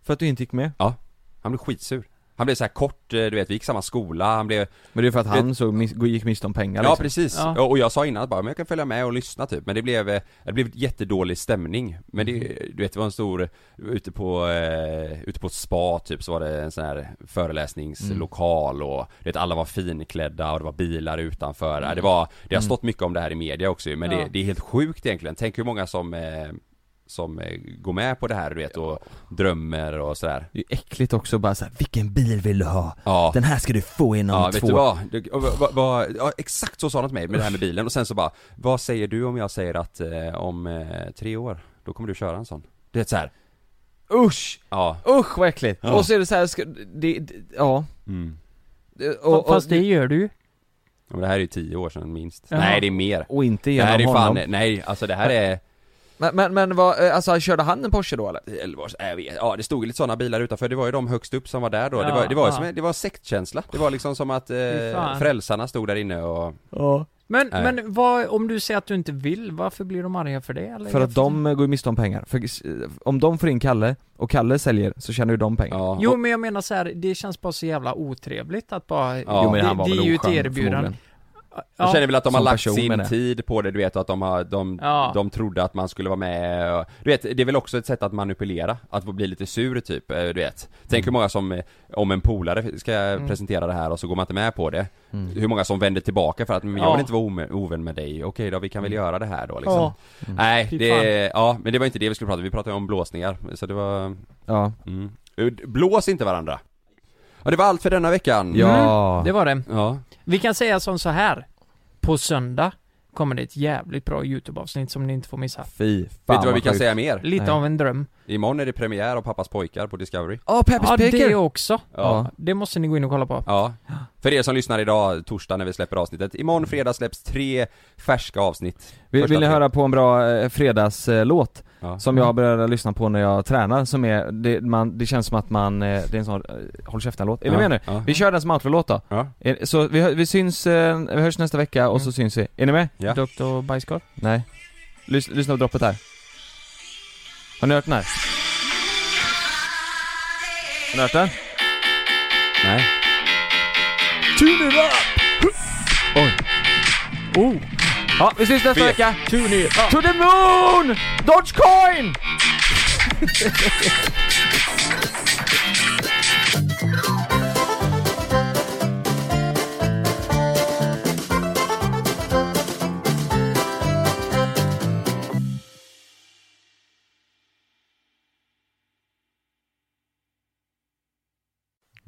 E: För att du inte gick med?
D: Ja, han blev skitsur Han blev så här kort, eh, du vet vi gick i samma skola, han blev
E: Men det är för att
D: du vet,
E: han så mis- gick miste om pengar liksom.
D: Ja precis, Och- och jag sa innan att bara, men jag kan följa med och lyssna typ Men det blev, eh, det blev jättedålig stämning Men det,
E: Mhm.
D: du vet det var en stor, ute på, eh, ute på ett spa typ så var det en sån här föreläsningslokal
E: Mm.
D: och du vet alla var finklädda och det var bilar utanför Ja, Det var, det har
E: Mm.
D: stått mycket om det här i media också ju, men
E: Ja.
D: det, det är helt sjukt egentligen Tänk hur många som eh, som eh, går med på det här du vet och drömmer och sådär
E: Det är ju äckligt också bara såhär, vilken bil vill du ha?
D: Ja.
E: Den här ska du få inom
D: ja,
E: två
D: vet du vad? Du, och vad- vad- vad- ja, exakt så sa han till mig med det här med bilen och sen så bara Vad säger du om jag säger att eh, om eh, tre år, då kommer du köra en sån? Du vet såhär
E: Usch!
D: Ja
E: Usch vad äckligt!
D: Ja.
E: Och så är det så här, ska, det, det, ja
D: Mm.
E: Det- och- och-
F: Fast det gör du ju.
D: Ja, men det här är ju tio år sedan minst
E: Jaha.
D: Nej det är mer
E: Och inte
D: Det här är
E: genom
D: fan,
E: honom.
D: nej alltså det här är
E: Men, men, men vad, eh, alltså körde han en Porsche då eller?
D: Eller vad, jag vet, ja det stod ju lite sådana bilar utanför, det var ju de högst upp som var där då Det
E: Ja,
D: var, det var, ju
E: ja.
D: som, en- det var sektkänsla, det var liksom som att eh,
F: Fy fan.
D: frälsarna stod där inne och
F: Ja. Men,
D: Nej.
F: men vad, om du säger att du inte vill, varför blir de arga för det? Eller?
E: För att de eh, går ju miste om pengar, för eh, om de får in Kalle och Kalle säljer så tjänar ju de pengar
F: Jo men jag menar så här, det känns bara så jävla otrevligt att bara...
D: Ja. Jo, men han var
F: det, det
D: väl
F: är ju ett
D: oskön,
F: erbjudande.
D: förmodligen. Jag känner väl att de har
E: Som
D: lagt
E: person,
D: sin
E: menar jag.
D: tid på det, du vet, och att de har, de,
F: Ja.
D: de trodde att man skulle vara med och, Du vet, det är väl också ett sätt att manipulera, att bli lite sur typ, eh, du vet Tänk hur många som, eh, om en polare ska
E: Mm.
D: presentera det här och så går man inte med på det
E: Mm.
D: Hur många som vänder tillbaka för att, men jag
E: Ja.
D: vill inte vara ome- ovän med dig, okej då, vi kan väl göra det här då liksom
E: Ja.
D: Mm. Nej,
E: Fy
D: det, ja, men det var inte det vi skulle prata om, vi pratade om blåsningar, så det var
E: Ja
D: mm. Blås inte varandra! Ja, det var allt för denna veckan!
F: Mm, det var det.
D: Ja.
F: Vi kan säga som så här. På söndag kommer det ett jävligt bra YouTube-avsnitt som ni inte får missa.
E: Fy
D: Vet du vad vi kan säga mer?
F: Lite av en dröm.
D: Imorgon är det premiär av Pappas pojkar på Discovery
E: Ja,
F: ja, det också.
D: Ja.
F: Det måste ni gå in och kolla på.
D: Ja, för er som lyssnar idag, torsdag när vi släpper avsnittet Imorgon fredag släpps tre färska avsnitt
E: Mm. Vill,
D: Första
E: vill ni
D: tre.
E: höra på en bra eh, fredagslåt?
D: Ja.
E: Som
F: Mm.
E: jag började lyssna på när jag tränar, som är, det, man, det känns som att man, eh, det är en sån, eh, håll käften-låt. Är ni
D: Ja.
E: med nu?
D: Ja.
E: Vi kör den som outro-låt då. Är- Så vi, hö- vi syns, eh, vi hörs nästa vecka och så syns vi. Är ni med?
D: Mm. Ja.
F: Dr. Bajskorv?
E: Nej. Lys, lyssna på droppet här. Har ni hört den här? Har ni hört den?
D: Nej.
E: Tune it up! Oj. Oh. Ja, vi syns nästa
O: Vet.
E: vecka.
F: Tune it up.
E: To the moon! Dogecoin!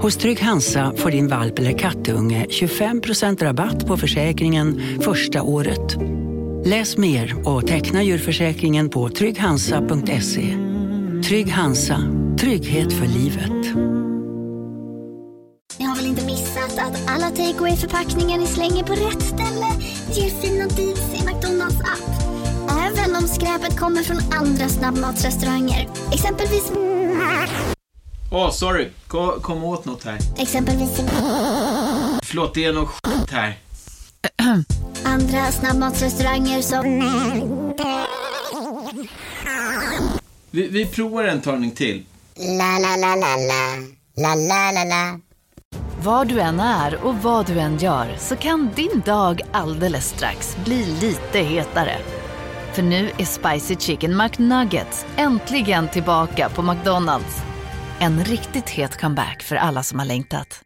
C: Hos Trygg Hansa får din valp eller kattunge 25% rabatt på försäkringen första året. Läs mer och teckna djurförsäkringen på trygghansa.se. Trygg Hansa, trygghet för livet.
A: Ni har väl inte missat att alla takeaway förpackningar ni slänger på rätt ställe ger fina deals i McDonalds app. Även om skräpet kommer från andra snabbmatsrestauranger. Exempelvis...
P: Åh, sorry. Kom, kom åt något här.
A: Exempelvis...
P: Förlåt, det är något skit här.
A: Andra snabbmatsrestauranger som...
P: Vi, vi provar en talning till.
Q: La la la la la, la la la la.
R: Var du än är och vad du än gör så kan din dag alldeles strax bli lite hetare. För nu är Spicy Chicken McNuggets äntligen tillbaka på McDonalds. En riktigt het comeback för alla som har längtat.